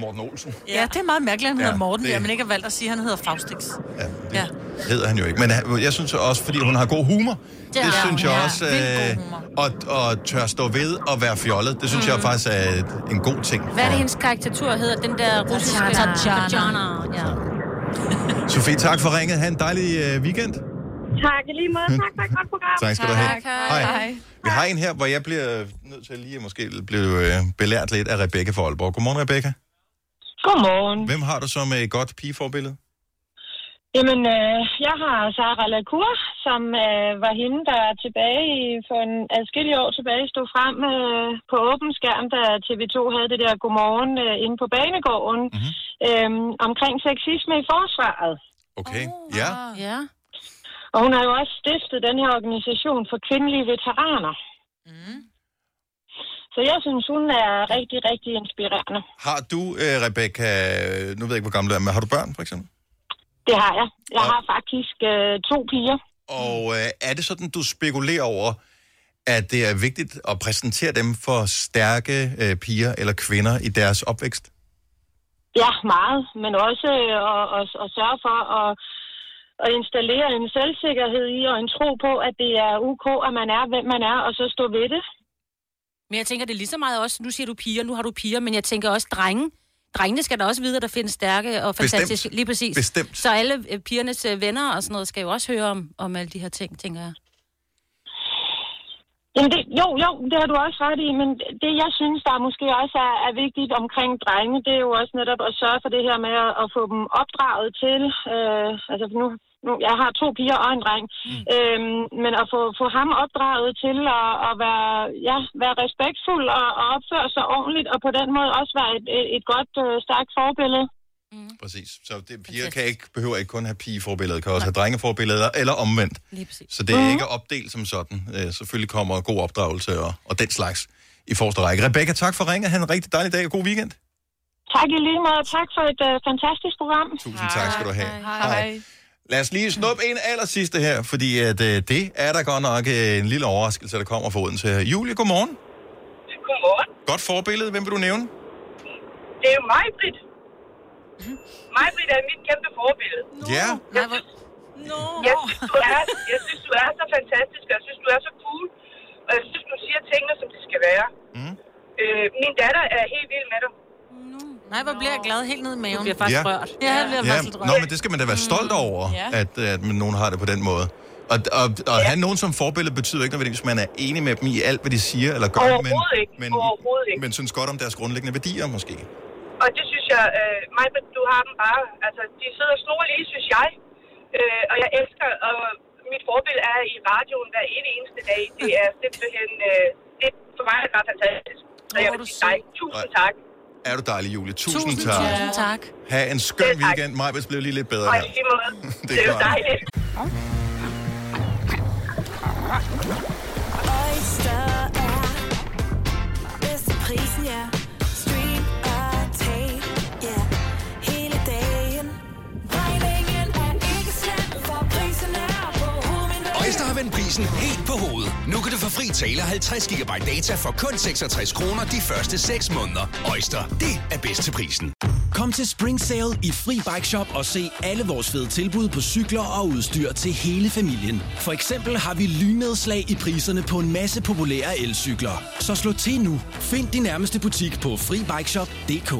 Morten Olsen [laughs] Ja, det er meget mærkeligt, at han Ja, ja, hedder Morten, det- det... men ikke har valgt at sige, at han hedder Faustix. Ja, det... ja. hedder han jo ikke. Men han- jeg synes også, fordi hun har god humor, har det, hun, synes jeg ja. også, Vildt øh, og, og tør stå ved og være fjollet, det synes mm. jeg faktisk er et- en god ting. [laughs] Hvad er det, hendes karikatur hedder? Den der russiske... Tatjana. Tatjana. Ja. Sofie, tak for ringet. Ha' en dejlig øh, weekend. Tak i lige måde. Tak for et godt program. Hmm. Tak skal du have. Tak, hej. hej. Vi har en her, hvor jeg bliver nødt til lige at måske blive øh, belært lidt af Rebecca fra Aalborg. Godmorgen, Rebecca. Godmorgen. Hvem har du som øh, godt pigeforbillede? Jamen, øh, jeg har Sara Lacour, som øh, var hende, der tilbage i, for en adskillige år tilbage stod frem øh, på åben skærm, da TV2 havde det der godmorgen øh, inde på banegården, Mhm. mm-hmm. øh, omkring sexisme i forsvaret. Okay, ja. Ja. Og hun har jo også stiftet den her organisation for kvindelige veteraner. Mm. Så jeg synes, hun er rigtig, rigtig inspirerende. Har du, øh, Rebecca, øh, nu ved jeg ikke, hvor gammel du er, men har du børn, for eksempel? Det har jeg. Jeg har faktisk øh, to piger. Og øh, er det sådan, du spekulerer over, at det er vigtigt at præsentere dem for stærke øh, piger eller kvinder i deres opvækst? Ja, meget, men også øh, at, at, at sørge for at, at installere en selvsikkerhed i og en tro på, at det er ok, at man er, hvem man er, og så stå ved det. Men jeg tænker, det er lige så meget også, nu siger du piger, nu har du piger, men jeg tænker også drenge. Drengene skal da også vide, at der findes stærke og Bestemt. fantastiske... Lige præcis. Bestemt. Så alle øh, pigernes øh, venner og sådan noget skal jo også høre om, om alle de her ting, tænker jeg. Jamen det, jo, jo, det har du også ret i, men det jeg synes, der måske også er, er vigtigt omkring drenge, det er jo også netop at sørge for det her med at, at få dem opdraget til, øh, altså nu, nu, jeg har to piger og en dreng, mm. øhm, men at få, få ham opdraget til at, at være, ja, være respektfuld og, og opføre sig ordentligt, og på den måde også være et, et, et godt, øh, stærkt forbillede. Præcis. Så det, piger kan ikke, behøver ikke kun have pigeforbilleder, kan også have drengeforbilleder, eller omvendt. Lige præcis. Så det er ikke opdelt som sådan. Øh, selvfølgelig kommer god opdragelse og, og den slags i forreste række. Rebecca, tak for ringet. Han en rigtig dejlig dag og god weekend. Tak i lige måde, tak for et øh, fantastisk program. Tusind tak skal du have. Hej. Lad os lige snuppe en aller sidste her, fordi at, øh, det er der godt nok øh, en lille overraskelse, der kommer fra Odense. her. Julie, godmorgen. Godmorgen. Godt forbillede. Hvem vil du nævne? Det er jo mig, Britt. Mig, Britt, er mit kæmpe forbillede. Ja. Jeg synes, jeg, synes, du er, jeg synes, du er så fantastisk, og jeg synes, du er så cool. Og jeg synes, du siger tingene, som de skal være. Mm. Øh, min datter er helt vild med dig. Nej, hvor bliver jeg glad helt ned i maven. Du bliver faktisk Ja. rørt. Ja, jeg bliver faktisk lidt Nå, men det skal man da være stolt over, Ja. at, at man- nogen har det på den måde. Og, og, og at have nogen som forbillede betyder ikke nødvendigvis, at man er enig med dem i alt, hvad de siger eller gør, men, Overhovedet ikke. men, Overhovedet ikke. men synes godt om deres grundlæggende værdier måske. Og det synes jeg, øh, mig, du har dem bare. Altså, de sidder store lige, synes jeg. Øh, og jeg elsker, og mit forbillede er i radioen hver evig eneste dag. Det er simpelthen, øh, det er for mig er det bare fantastisk. Så jeg vil sige dig, tusind tak. Er du dejlig, Julie? Tusind, tak. Tusind tak. Ha' en skøn weekend. Majbets blev lige lidt bedre Og her. i lige måde. [laughs] Det Det er er jo klart. dejligt. Oyster er bedst til prisen, ja. Stream og tag, ja. Hele dagen. Regningen er ikke slem, for prisen er på hovedet. Øjster har vendt prisen helt Helt på hovedet. Nu kan du få fri tale 50 GB data for kun 66 kroner de første 6 måneder. Øjster, det er bedst til prisen. Kom til Spring Sale i Fri Bike Shop og se alle vores fede tilbud på cykler og udstyr til hele familien. For eksempel har vi lynedslag i priserne på en masse populære elcykler. Så slå til nu. Find din nærmeste butik på FriBikeShop.dk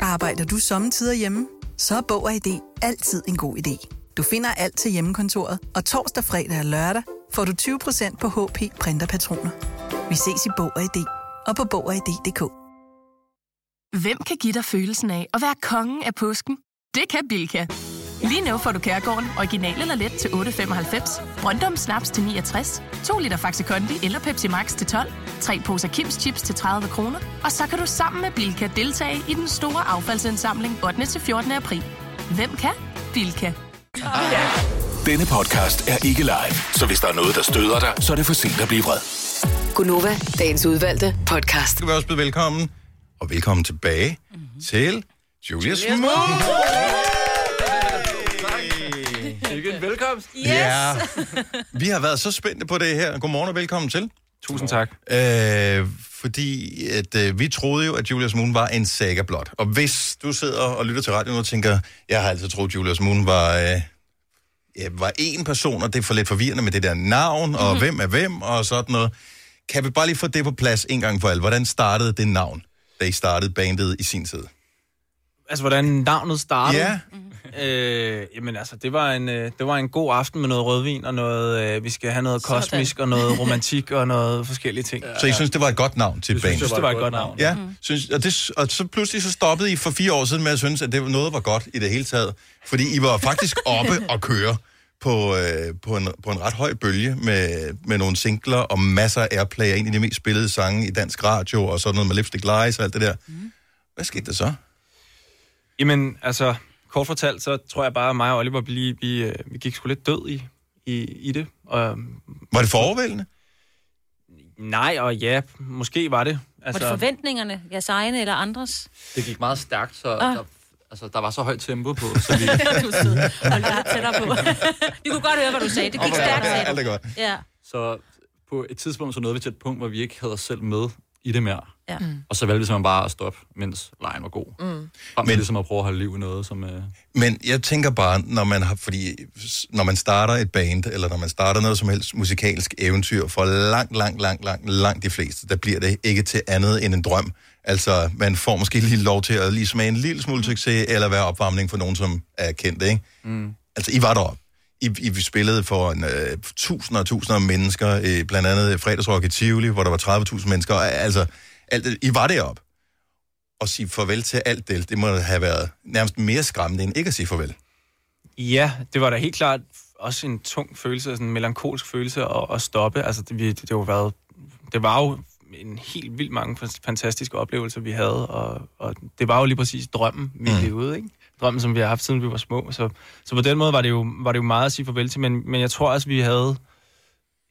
Arbejder du sommetider hjemme? Så er Bog og ID altid en god idé. Du finder alt til hjemmekontoret, og torsdag, fredag og lørdag får du 20% på HP printerpatroner. Vi ses i Bog og ID og på Bog og ID.dk. Hvem kan give dig følelsen af at være kongen af påsken? Det kan Bilka! Lige nu får du Kærgården original eller let til 8.95, Brøndum Snaps til 69, 2 liter Faxi Kondi eller Pepsi Max til 12, 3 poser Kims Chips til 30 kroner, og så kan du sammen med Bilka deltage i den store affaldsindsamling 8. til 14. april. Hvem kan? Bilka. Denne podcast er ikke live, så hvis der er noget, der støder dig, så er det for sent at blive vred. Gunova, dagens udvalgte podcast. Skal vi også byde velkommen, og velkommen tilbage Mhm. mm-hmm. til Julia Smoot. Sikke en velkomst. Yes. Ja. Vi har været så spændte på det her. Godmorgen og velkommen til. Tusind tak. Øh, fordi at, øh, vi troede jo, at Julius Moon var en saga blot. Og hvis du sidder og lytter til radioen og tænker, jeg har altid troet, at Julius Moon var, øh, ja, var én person, og det er for lidt forvirrende med det der navn, og mm-hmm. hvem er hvem, og sådan noget. Kan vi bare lige få det på plads en gang for alle? Hvordan startede det navn, da I startede bandet i sin tid? Altså, hvordan navnet startede? Ja. Øh, jamen altså, det var, en, øh, det var en god aften med noget rødvin og noget... Øh, vi skal have noget kosmisk og [laughs] noget romantik og noget forskellige ting. Så I synes, det var et godt navn til et band? synes, det var et godt navn. Mm. Ja, synes, og, det, og så pludselig så stoppede I for fire år siden med at synes, at det, noget var godt i det hele taget. Fordi I var faktisk oppe og køre på, øh, på, en, på en ret høj bølge med, med nogle singler og masser af airplay, og en af de mest spillede sange i dansk radio og sådan noget med Lipstick Lies og alt det der. Hvad skete der så? Jamen, altså, kort fortalt, så tror jeg bare, at mig og Oliver, vi, vi, øh, vi gik sgu lidt død i, i, i det. Og, øh, Var det for overvældende? Nej og ja, måske var det. Altså, var det forventningerne, jeres egne eller andres? det gik meget stærkt, så Ah. [laughs] der- altså, der var så højt tempo på, så [laughs] vi... du er sød. Hold dig tættere på. Vi kunne godt høre, hvad du sagde. Det gik stærkt, sagde du. Ja. Så på et tidspunkt så nåede vi til et punkt, hvor vi ikke havde os selv med i det mere. Ja. Mm. Og så valgte vi simpelthen bare at stoppe, mens lejen var god. Mm. Frem Men... ligesom at prøve at holde liv i noget, som... Øh... Men jeg tænker bare, når man, har, fordi, s- når man starter et band, eller når man starter noget som helst musikalsk eventyr, for langt, langt, langt, langt, langt de fleste, der bliver det ikke til andet end en drøm. Altså, man får måske lige lov til at lige smage en lille smule succes, eller være opvarmning for nogen, som er kendt, ikke? Mm. Altså, I var deroppe. I, I vi spillede for en, øh, tusinder og tusinder af mennesker, øh, blandt andet fredagsrock i Tivoli, hvor der var 30.000 mennesker. og, Altså, alt, det- I var deroppe. Og sige farvel til alt det, det må have været nærmest mere skræmmende, end ikke at sige farvel. Ja, det var da helt klart også en tung følelse, sådan en melankolsk følelse at, at stoppe. Altså, det, vi, det, det, var været, det var jo en helt vildt mange fas- fantastiske oplevelser, vi havde, og, og det var jo lige præcis drømmen, vi mm. levede, ikke? Drømmen, som vi har haft, siden vi var små. Så, så på den måde var det, jo, var det jo meget at sige farvel til, men, men jeg tror også, vi havde...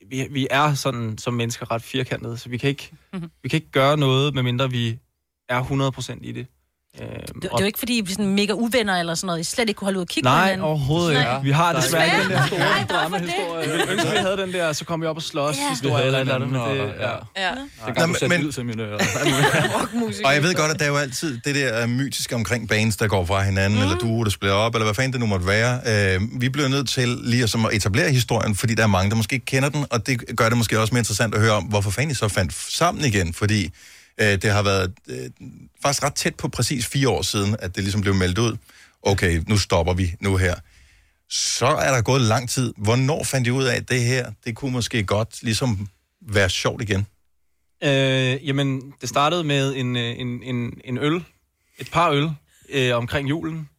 Vi, vi er sådan som mennesker ret firkantede, så vi kan ikke, Mhm. mm-hmm. vi kan ikke gøre noget, medmindre vi er 100% i det. Øhm, Det, det er jo ikke, fordi I er sådan mega uvenner eller sådan noget. I slet ikke kunne holde ud og kigge på Nej, hinanden. overhovedet ikke. Vi har desværre ikke den der store Nej, hvorfor dramahistorie. Jeg ville ønske, vi havde den der, så kom vi op og slås. Ja. historie Vi havde eller andet, hinanden, men og- ja. Ja. Det Nå, kan du sætte men- ud til mine ører. Og jeg ved godt, at der er jo altid det der øh, mytiske omkring bands, der går fra hinanden, mm. eller duo, der spiller op, eller hvad fanden det nu måtte være. Øh, vi bliver nødt til lige at, som at etablere historien, fordi der er mange, der måske ikke kender den, og det gør det måske også mere interessant at høre om, hvorfor fanden I så fandt f- sammen igen, fordi øh, det har været øh, faktisk ret tæt på præcis fire år siden, at det ligesom blev meldt ud. Okay, nu stopper vi nu her. Så er der gået lang tid. Hvornår fandt I ud af, at det her, det kunne måske godt ligesom være sjovt igen? Øh, jamen, det startede med en, øh, en, en, en øl. Et par øl øh, omkring julen.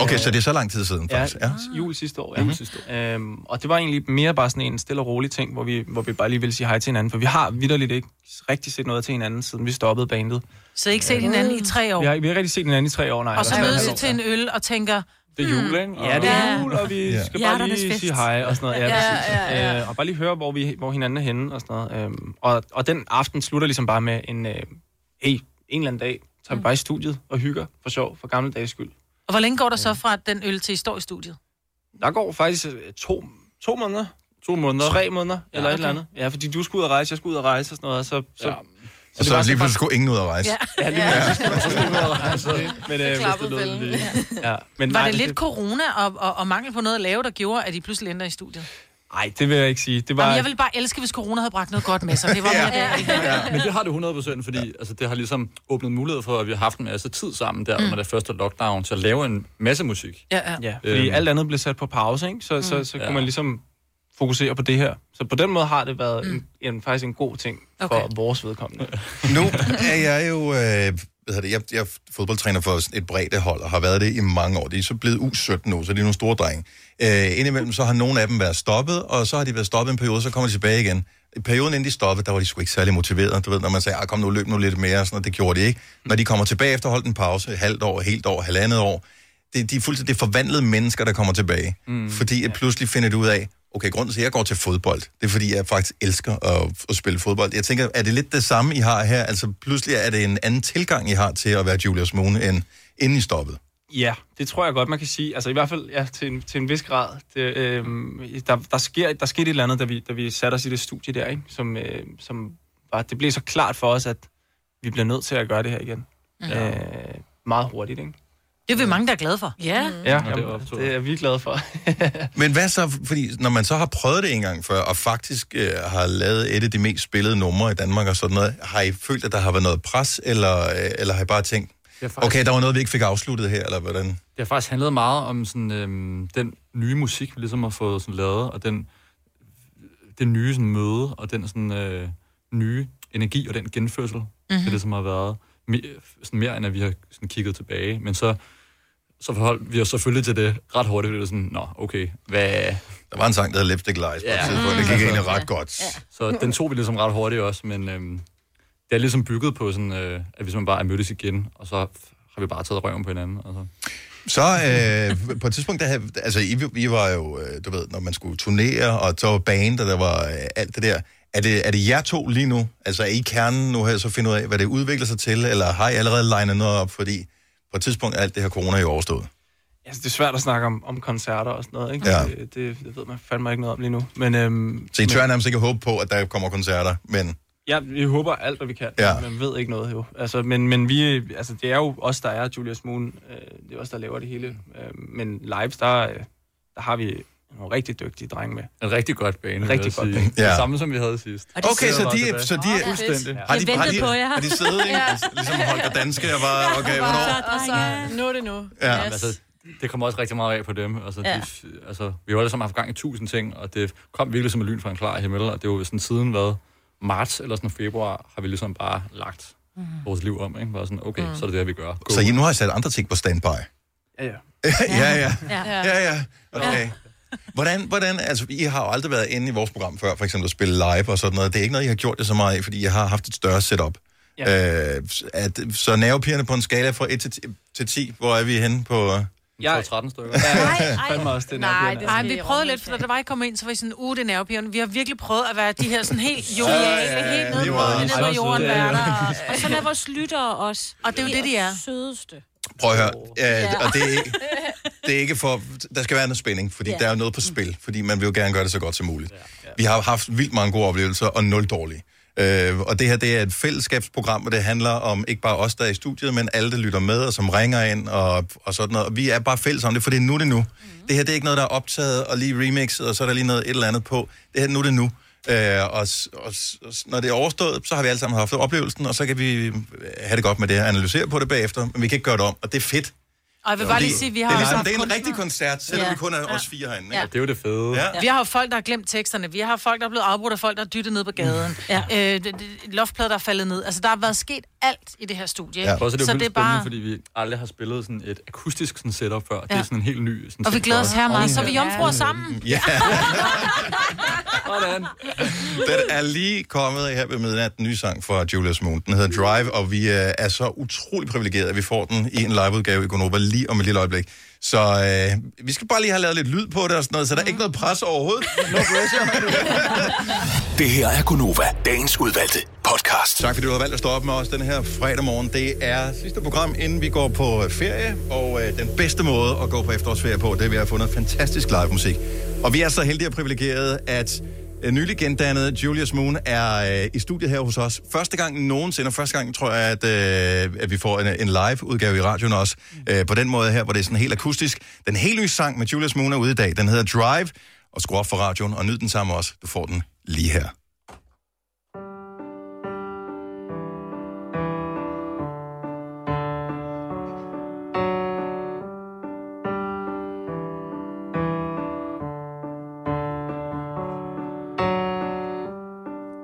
Okay, Øh, så det er så lang tid siden, faktisk. Ja, jul sidste år. Ja. Mm-hmm. Sidste år. Øhm, og det var egentlig mere bare sådan en stille og rolig ting, hvor vi, hvor vi bare lige ville sige hej til hinanden. For vi har vidderligt ikke rigtig set noget til hinanden, siden vi stoppede bandet. Så I ikke set hinanden i tre år? Vi har, vi har ikke rigtig set hinanden i tre år, nej. og så Eller sådan mødes et I til en øl og tænker... Det Mm. er jul, ikke? Ja, det er jul, og vi Ja. skal bare Hjerternes lige fest. sige hej og sådan noget. Ja, Ja, præcis. ja, ja. Øh, og bare lige høre, hvor, vi, hvor hinanden er henne og sådan noget. Øhm, og, og den aften slutter ligesom bare med en, øh, hey, en eller anden dag tager Mm. vi bare i studiet og hygger for sjov, for gamle dages skyld. Og hvor længe går der så fra den øl til, I står i studiet? Der går faktisk øh, to, to måneder. To måneder. Tre måneder, Ja, ja, eller okay. et okay. eller andet. Ja, fordi du skulle ud og rejse, jeg skulle ud og rejse og sådan noget, så... så ja. Og så lige pludselig skulle ingen ud at rejse. Ja, lige pludselig [laughs] skulle ingen ud at [laughs] rejse. Men, øh, hvis det lød lige. Ja. Men Var nej, det lidt corona og, og, og mangel på noget at lave, der gjorde, at I pludselig ændrede i studiet? Nej, det vil jeg ikke sige. Det var... Jamen, jeg ville bare elske, hvis corona havde bragt noget godt med sig. Det [laughs] var mere det. ikke? ja. Men det har du 100%, fordi altså, det har ligesom åbnet mulighed for, at vi har haft en masse tid sammen der Mm. mm. under det første lockdown, til at lave en masse musik. Ja, ja. Ja, Øh, fordi Øhm. alt andet blev sat på pause, ikke? Så, så, så, Mm. kunne man ligesom fokusere på det her. Så på den måde har det været en, en, faktisk en god ting for Okay. vores vedkommende. Nu er jeg jo... Øh, hvad hedder det, jeg, jeg er fodboldtræner for sådan et bredt hold, og har været det i mange år. De er så blevet U17 nu, så de er nogle store drenge. Øh, indimellem så har nogle af dem været stoppet, og så har de været stoppet en periode, så kommer de tilbage igen. I perioden inden de stoppede, der var de sgu ikke særlig motiverede. Du ved, når man sagde, "Ah, kom nu, løb nu lidt mere, og sådan noget, det gjorde de ikke. Når de kommer tilbage efter holdt en pause, et halvt år, et helt år, halvandet år, det, de er fuldstændig det er forvandlede mennesker, der kommer tilbage. Mm, fordi at pludselig finder du ud af, okay, grunden til, at jeg går til fodbold, det er, fordi jeg faktisk elsker at, at spille fodbold. Jeg tænker, er det lidt det samme, I har her? Altså, pludselig er det en anden tilgang, I har til at være Julius Moon, end inden I stoppede. Ja, det tror jeg godt, man kan sige. Altså i hvert fald ja, til, en, til en vis grad. Det, øh, der, der, sker, der skete et eller andet, da vi, da vi satte os i det studie der, ikke? Som, øh, som var, det blev så klart for os, at vi bliver nødt til at gøre det her igen. Mhm. Mm. Øh, meget hurtigt, ikke? Det er vi mange, der er glade for. Ja. Ja, jamen, det er vi glade for. Men hvad så, fordi når man så har prøvet det en gang før, og faktisk øh, har lavet et af de mest spillede numre i Danmark og sådan noget, har I følt, at der har været noget pres, eller, øh, eller har I bare tænkt, Ja, faktisk. okay, der var noget, vi ikke fik afsluttet her, eller hvordan? Det har faktisk handlet meget om sådan, øhm, den nye musik, vi ligesom har fået sådan, lavet, og den, det nye sådan, møde, og den sådan, øh, nye energi og den genfødsel, mm-hmm. det ligesom har været mere, sådan mere end at vi har sådan, kigget tilbage. Men så, så forholdt vi os selvfølgelig til det ret hurtigt, fordi det var sådan, nå, okay, hvad... Der var en sang, der hed Lipstick Lies på et tidspunkt, det gik egentlig ret godt. Så den tog vi ligesom ret hurtigt også, men øhm, det er ligesom bygget på sådan, øh, at hvis man bare er mødtes igen, og så har vi bare taget røven på hinanden. Altså. Så øh, på et tidspunkt, der havde, altså I, I var jo, øh, du ved, når man skulle turnere, og så var band, og der var øh, alt det der. Er det, er det jer to lige nu? Altså er I kernen nu her, så finder ud af, hvad det udvikler sig til, eller har I allerede legnet noget op, fordi på et tidspunkt er alt det her corona jo overstået? Altså, det er svært at snakke om, om koncerter og sådan noget, ikke? Ja. Det, det, det ved man fandme ikke noget om lige nu. Men, øhm, Så I tør nærmest ikke håbe på, at der kommer koncerter, men... Ja, vi håber alt, hvad vi kan. Ja. Ja. Man ved ikke noget jo. Altså, men, men vi, øh, altså, det er jo os, der er Julius Moon. Øh, det er os, der laver det hele. Øh, men live, der, øh, der har vi nogle rigtig dygtige drenge med. En rigtig godt bane, En rigtig godt bane. Ja. Det samme, som vi havde sidst. Og de Okay, sidder så bare de er- tilbage. så de er- fuldstændig. Har de- Jeg har ventede de- på jer. har de siddet, ikke? Ja. Ligesom Holger Danske, jeg var, okay, hvornår? Og så, nu er det nu. Ja. Yes. Altså, det kommer også rigtig meget af på dem. Altså, Ja. ja. de, altså, vi har jo alle sammen haft gang i tusind ting, og det kom virkelig som et lyn fra en klar himmel, og det er jo sådan siden hvad, marts eller sådan februar, har vi ligesom bare lagt mm. vores liv om, ikke? Bare sådan, okay, Mm. mm. så er det det, her, vi gør. Go. Så [laughs] I nu har I sat andre ting på standby? Ja, ja. ja, ja. Ja. Ja, ja. Okay. Hvordan, hvordan, altså, I har jo aldrig været inde i vores program før, for eksempel at spille live og sådan noget. Det er ikke noget, I har gjort det så meget af, fordi jeg har haft et større setup. Ja. Øh, at, så nervepigerne på en skala fra 1 til 10, til 10 hvor er vi henne på... øh? Jeg 13 stykker. Fandme også, det er Nej, nervepirrende. det Ej, vi prøvede lidt, for da der var I kom ind, så var I sådan, uh, det er nervepigerne. Vi har virkelig prøvet at være de her sådan [laughs] helt Ja, ja, øh, joviale, ja, helt nede på lige meget. nede på Så jorden. søde. være der. Og sådan er vores lyttere også. Og det er jo det, de er. Sødeste. Prøv at høre. Øh, og det er, ikke, det er ikke for... Der skal være noget spænding, fordi Ja. ja. der er jo noget på spil, fordi man vil jo gerne gøre det så godt som muligt. Ja. Vi har haft vildt mange gode oplevelser, og nul dårlige. Øh, og det her, det er et fællesskabsprogram, og det handler om ikke bare os, der er i studiet, men alle, der lytter med, og som ringer ind, og, og sådan noget. Og vi er bare fælles om det, for det er nu det nu. Mm. Det her, det er ikke noget, der er optaget og lige remixet, og så er der lige noget et eller andet på. Det her, nu det nu. Øh, og, s- og, s- og s- når det er overstået, så har vi alle sammen haft oplevelsen, og så kan vi øh, have det godt med det og analysere på det bagefter, men vi kan ikke gøre det om, og det er fedt. Og jeg vil bare Det- lige sige, vi har det er også ligesom- haft det er en kunstnere. rigtig koncert, selvom vi kun er os fire herinde, ikke? Ja. Og det er jo det fede. Ja. Vi har jo folk, der har glemt teksterne. Vi har folk, der er blevet afbrudt af folk, der er dyttet ned på gaden. Mm. Ja. Øh, d- d- loftplader, der er faldet ned. Altså, der har været sket alt i det her studie. ikke? Ja. Også, det er så det er bare... fordi vi aldrig har spillet sådan et akustisk sådan setup før. Ja. Det Ja. er sådan en helt ny... Sådan Og vi ting glæder for os her meget, så er vi Ja. jomfruer sammen. [laughs] Ja. Den er lige kommet her ved midnat, den nye sang fra Julius Moon. Den hedder Drive, og vi øh, er så utrolig privilegerede, at vi får den i en liveudgave i Gonova lige om et lille øjeblik. Så øh, Mm. vi skal bare lige have lavet lidt lyd på det og sådan noget, så der er ikke noget pres overhovedet. Det her er Gunova, dagens udvalgte podcast. Tak fordi du har valgt at stå op med os den her fredag morgen. Det er sidste program, inden vi går på øh, ferie. Og øh, den bedste måde at gå på efterårsferie på, det er ved at få noget fantastisk live musik. Og vi er så heldige og privilegerede, at øh, nylig gendannede Julius Moon er øh, i studiet her hos os. Første gang nogensinde, og første gang tror jeg, at, øh, at vi får en, en live udgave i radioen også. Øh, på den måde her, hvor det er sådan helt akustisk. Den helt nye sang med Julius Moon er ude i dag. Den hedder Drive. Og skru op for radioen og nyd den sammen også. Du får den lige her.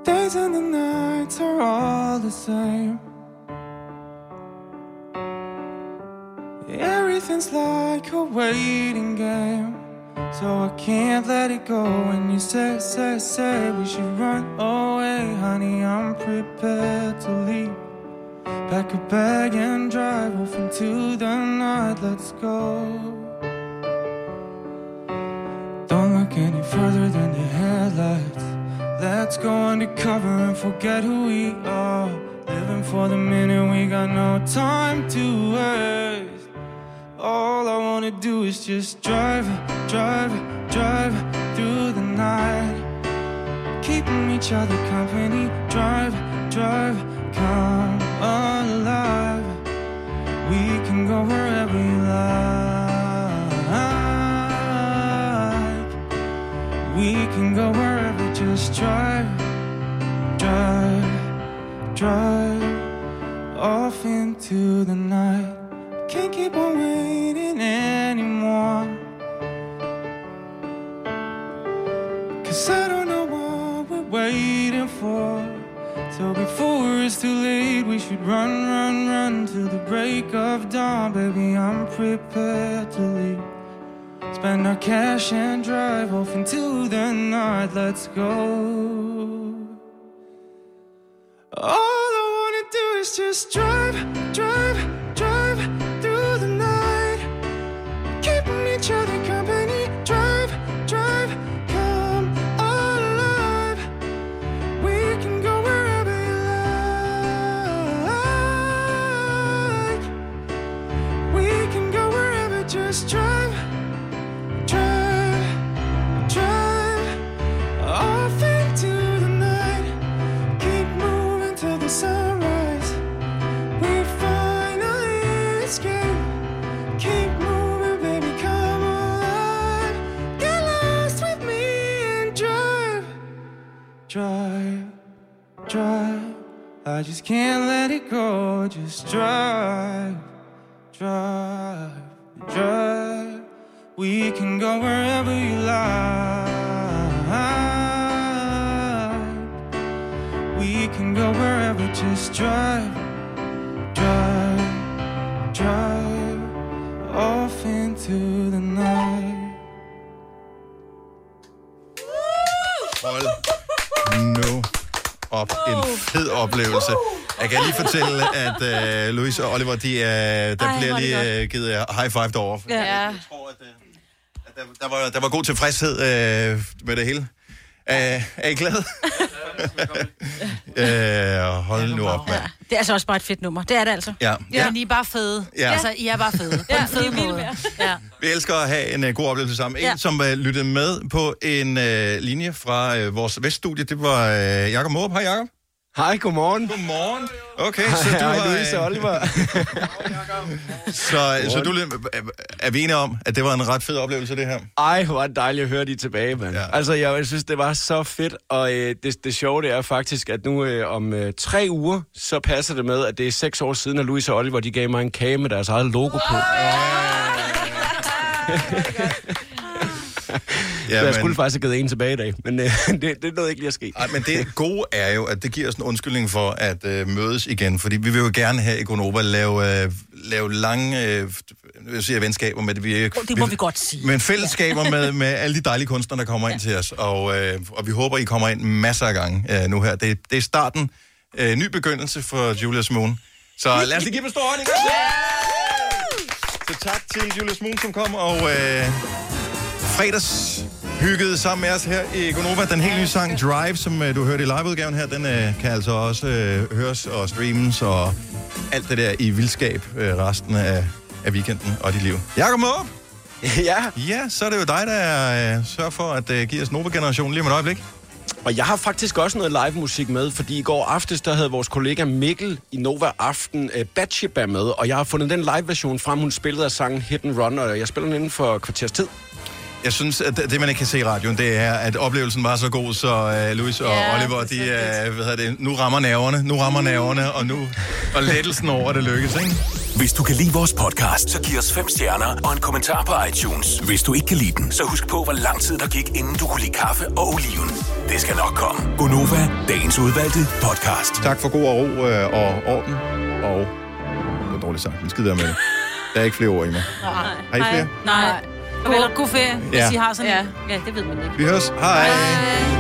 Days and the nights are all the same. Everything's like a waiting game. So I can't let it go when you say, say, say we should run away, honey. I'm prepared to leave. Pack a bag and drive off into the night. Let's go. Don't look any further than your headlights. Let's go undercover and forget who we are. Living for the minute, we got no time to waste. All I wanna do is just drive, drive, drive through the night. Keeping each other company, drive, drive, come alive. We can go wherever you like. We can go wherever, just drive, drive, drive off into the night. Can't keep on waiting anymore. Cause I don't know what we're waiting for. So before it's too late, we should run, run, run till the break of dawn. Baby, I'm prepared to leave. Spend our cash and drive off into the night. Let's go. All I wanna do is just drive, drive, drive through the night. Keeping each other company. Drive, drive, come alive. We can go wherever you like. We can go wherever, just drive. Drive, drive off into the night. Keep moving till the sunrise. We finally escape. Keep moving, baby, come alive. Get lost with me and drive, drive, drive. I just can't let it go. Just drive, drive, drive. We can go wherever you like. We can go wherever, just drive, drive, drive off into the night. Hold nu op. En fed oplevelse. Jeg kan lige fortælle, at øh, Louise og Oliver, de, øh, der Ej, hvor Ej, bliver er det lige godt. øh, givet øh, high five derovre. Ja. ja. Der var, der var god tilfredshed øh, med det hele. Øh, er I glade? øh, hold nu op, mand. [laughs] Det er altså også bare et fedt nummer. Det er det altså. Ja. ja. Ja. Men I er bare fede. Ja. Altså, I er bare [laughs] fede. På en fed måde. Ja. Vi elsker at have en uh, god oplevelse sammen. En, Ja. ja. som uh, lyttede med på en uh, linje fra uh, vores veststudie, det var uh, Jakob Måb. Hej, Jakob. Hej, godmorgen. Godmorgen. Okay, Hej, så du hej, har... øh, Louise og Oliver. så, så du lyttede, er vi enige om, at det var en ret fed oplevelse, det her? Ej, hvor er det dejligt at høre de tilbage, mand. Ja. Altså, jeg, jeg synes, det var så fedt, og øh, det, det sjove det er faktisk, at nu øh, om øh, tre uger, så passer det med, at det er seks år siden, at Louise og Oliver, de gav mig en kage med deres eget logo på. Ja, jeg men- skulle faktisk have givet en tilbage i dag, men øh, [laughs] det, det nåede ikke lige at ske. Ej, men det gode er jo, at det giver os en undskyldning for at øh, mødes igen, fordi vi vil jo gerne her i Gonova lave, øh, lave lange øh, jeg siger, venskaber med det. Vi, det må vi godt sige. Men fællesskaber ja. med, med alle de dejlige kunstnere, der kommer ind til os, og, øh, og vi håber, I kommer ind masser af gange øh, nu her. Det, det er starten. Øh, ny begyndelse for Julius Moon. Så lad os lige give dem en stor hånd. ikke? Så tak til Julius Moon, som kom, og øh, fredags hygget sammen med os her i Gonova. Den helt nye sang Drive, som øh, du hørte i liveudgaven her, den øh, kan altså også øh, høres og streames og alt det der i vildskab øh, resten af, af weekenden og dit liv. Jakob Måb! [laughs] Ja. Ja, så er det jo dig, der øh, sørger for at øh, give os Nova-generationen lige om et øjeblik. Og jeg har faktisk også noget live musik med, fordi i går aftes, der havde vores kollega Mikkel i Nova Aften uh, Batsheba med, og jeg har fundet den live version frem, hun spillede af sangen Hit and Run, og jeg spiller den inden for et kvarters tid. Jeg synes, at det, man ikke kan se i radioen, det er, at oplevelsen var så god, så uh, Louis og Ja, ja, Oliver, de, uh, hvad hedder det, nu rammer nerverne, nu rammer nerverne, og nu og lettelsen over, at det lykkes, ikke? Hvis du kan lide vores podcast, så giv os fem stjerner og en kommentar på iTunes. Hvis du ikke kan lide den, så husk på, hvor lang tid der gik, inden du kunne lide kaffe og oliven. Det skal nok komme. Gonova, dagens udvalgte podcast. Tak for god og ro øh, og orden, og det var dårligt sagt, men skider med det. Der er ikke flere ord i mig. Nej. Har I flere? Nej. Nej. Eller god ferie, hvis Ja. I har sådan ja. ja, det ved man ikke. Vi høres. Hej. Hej.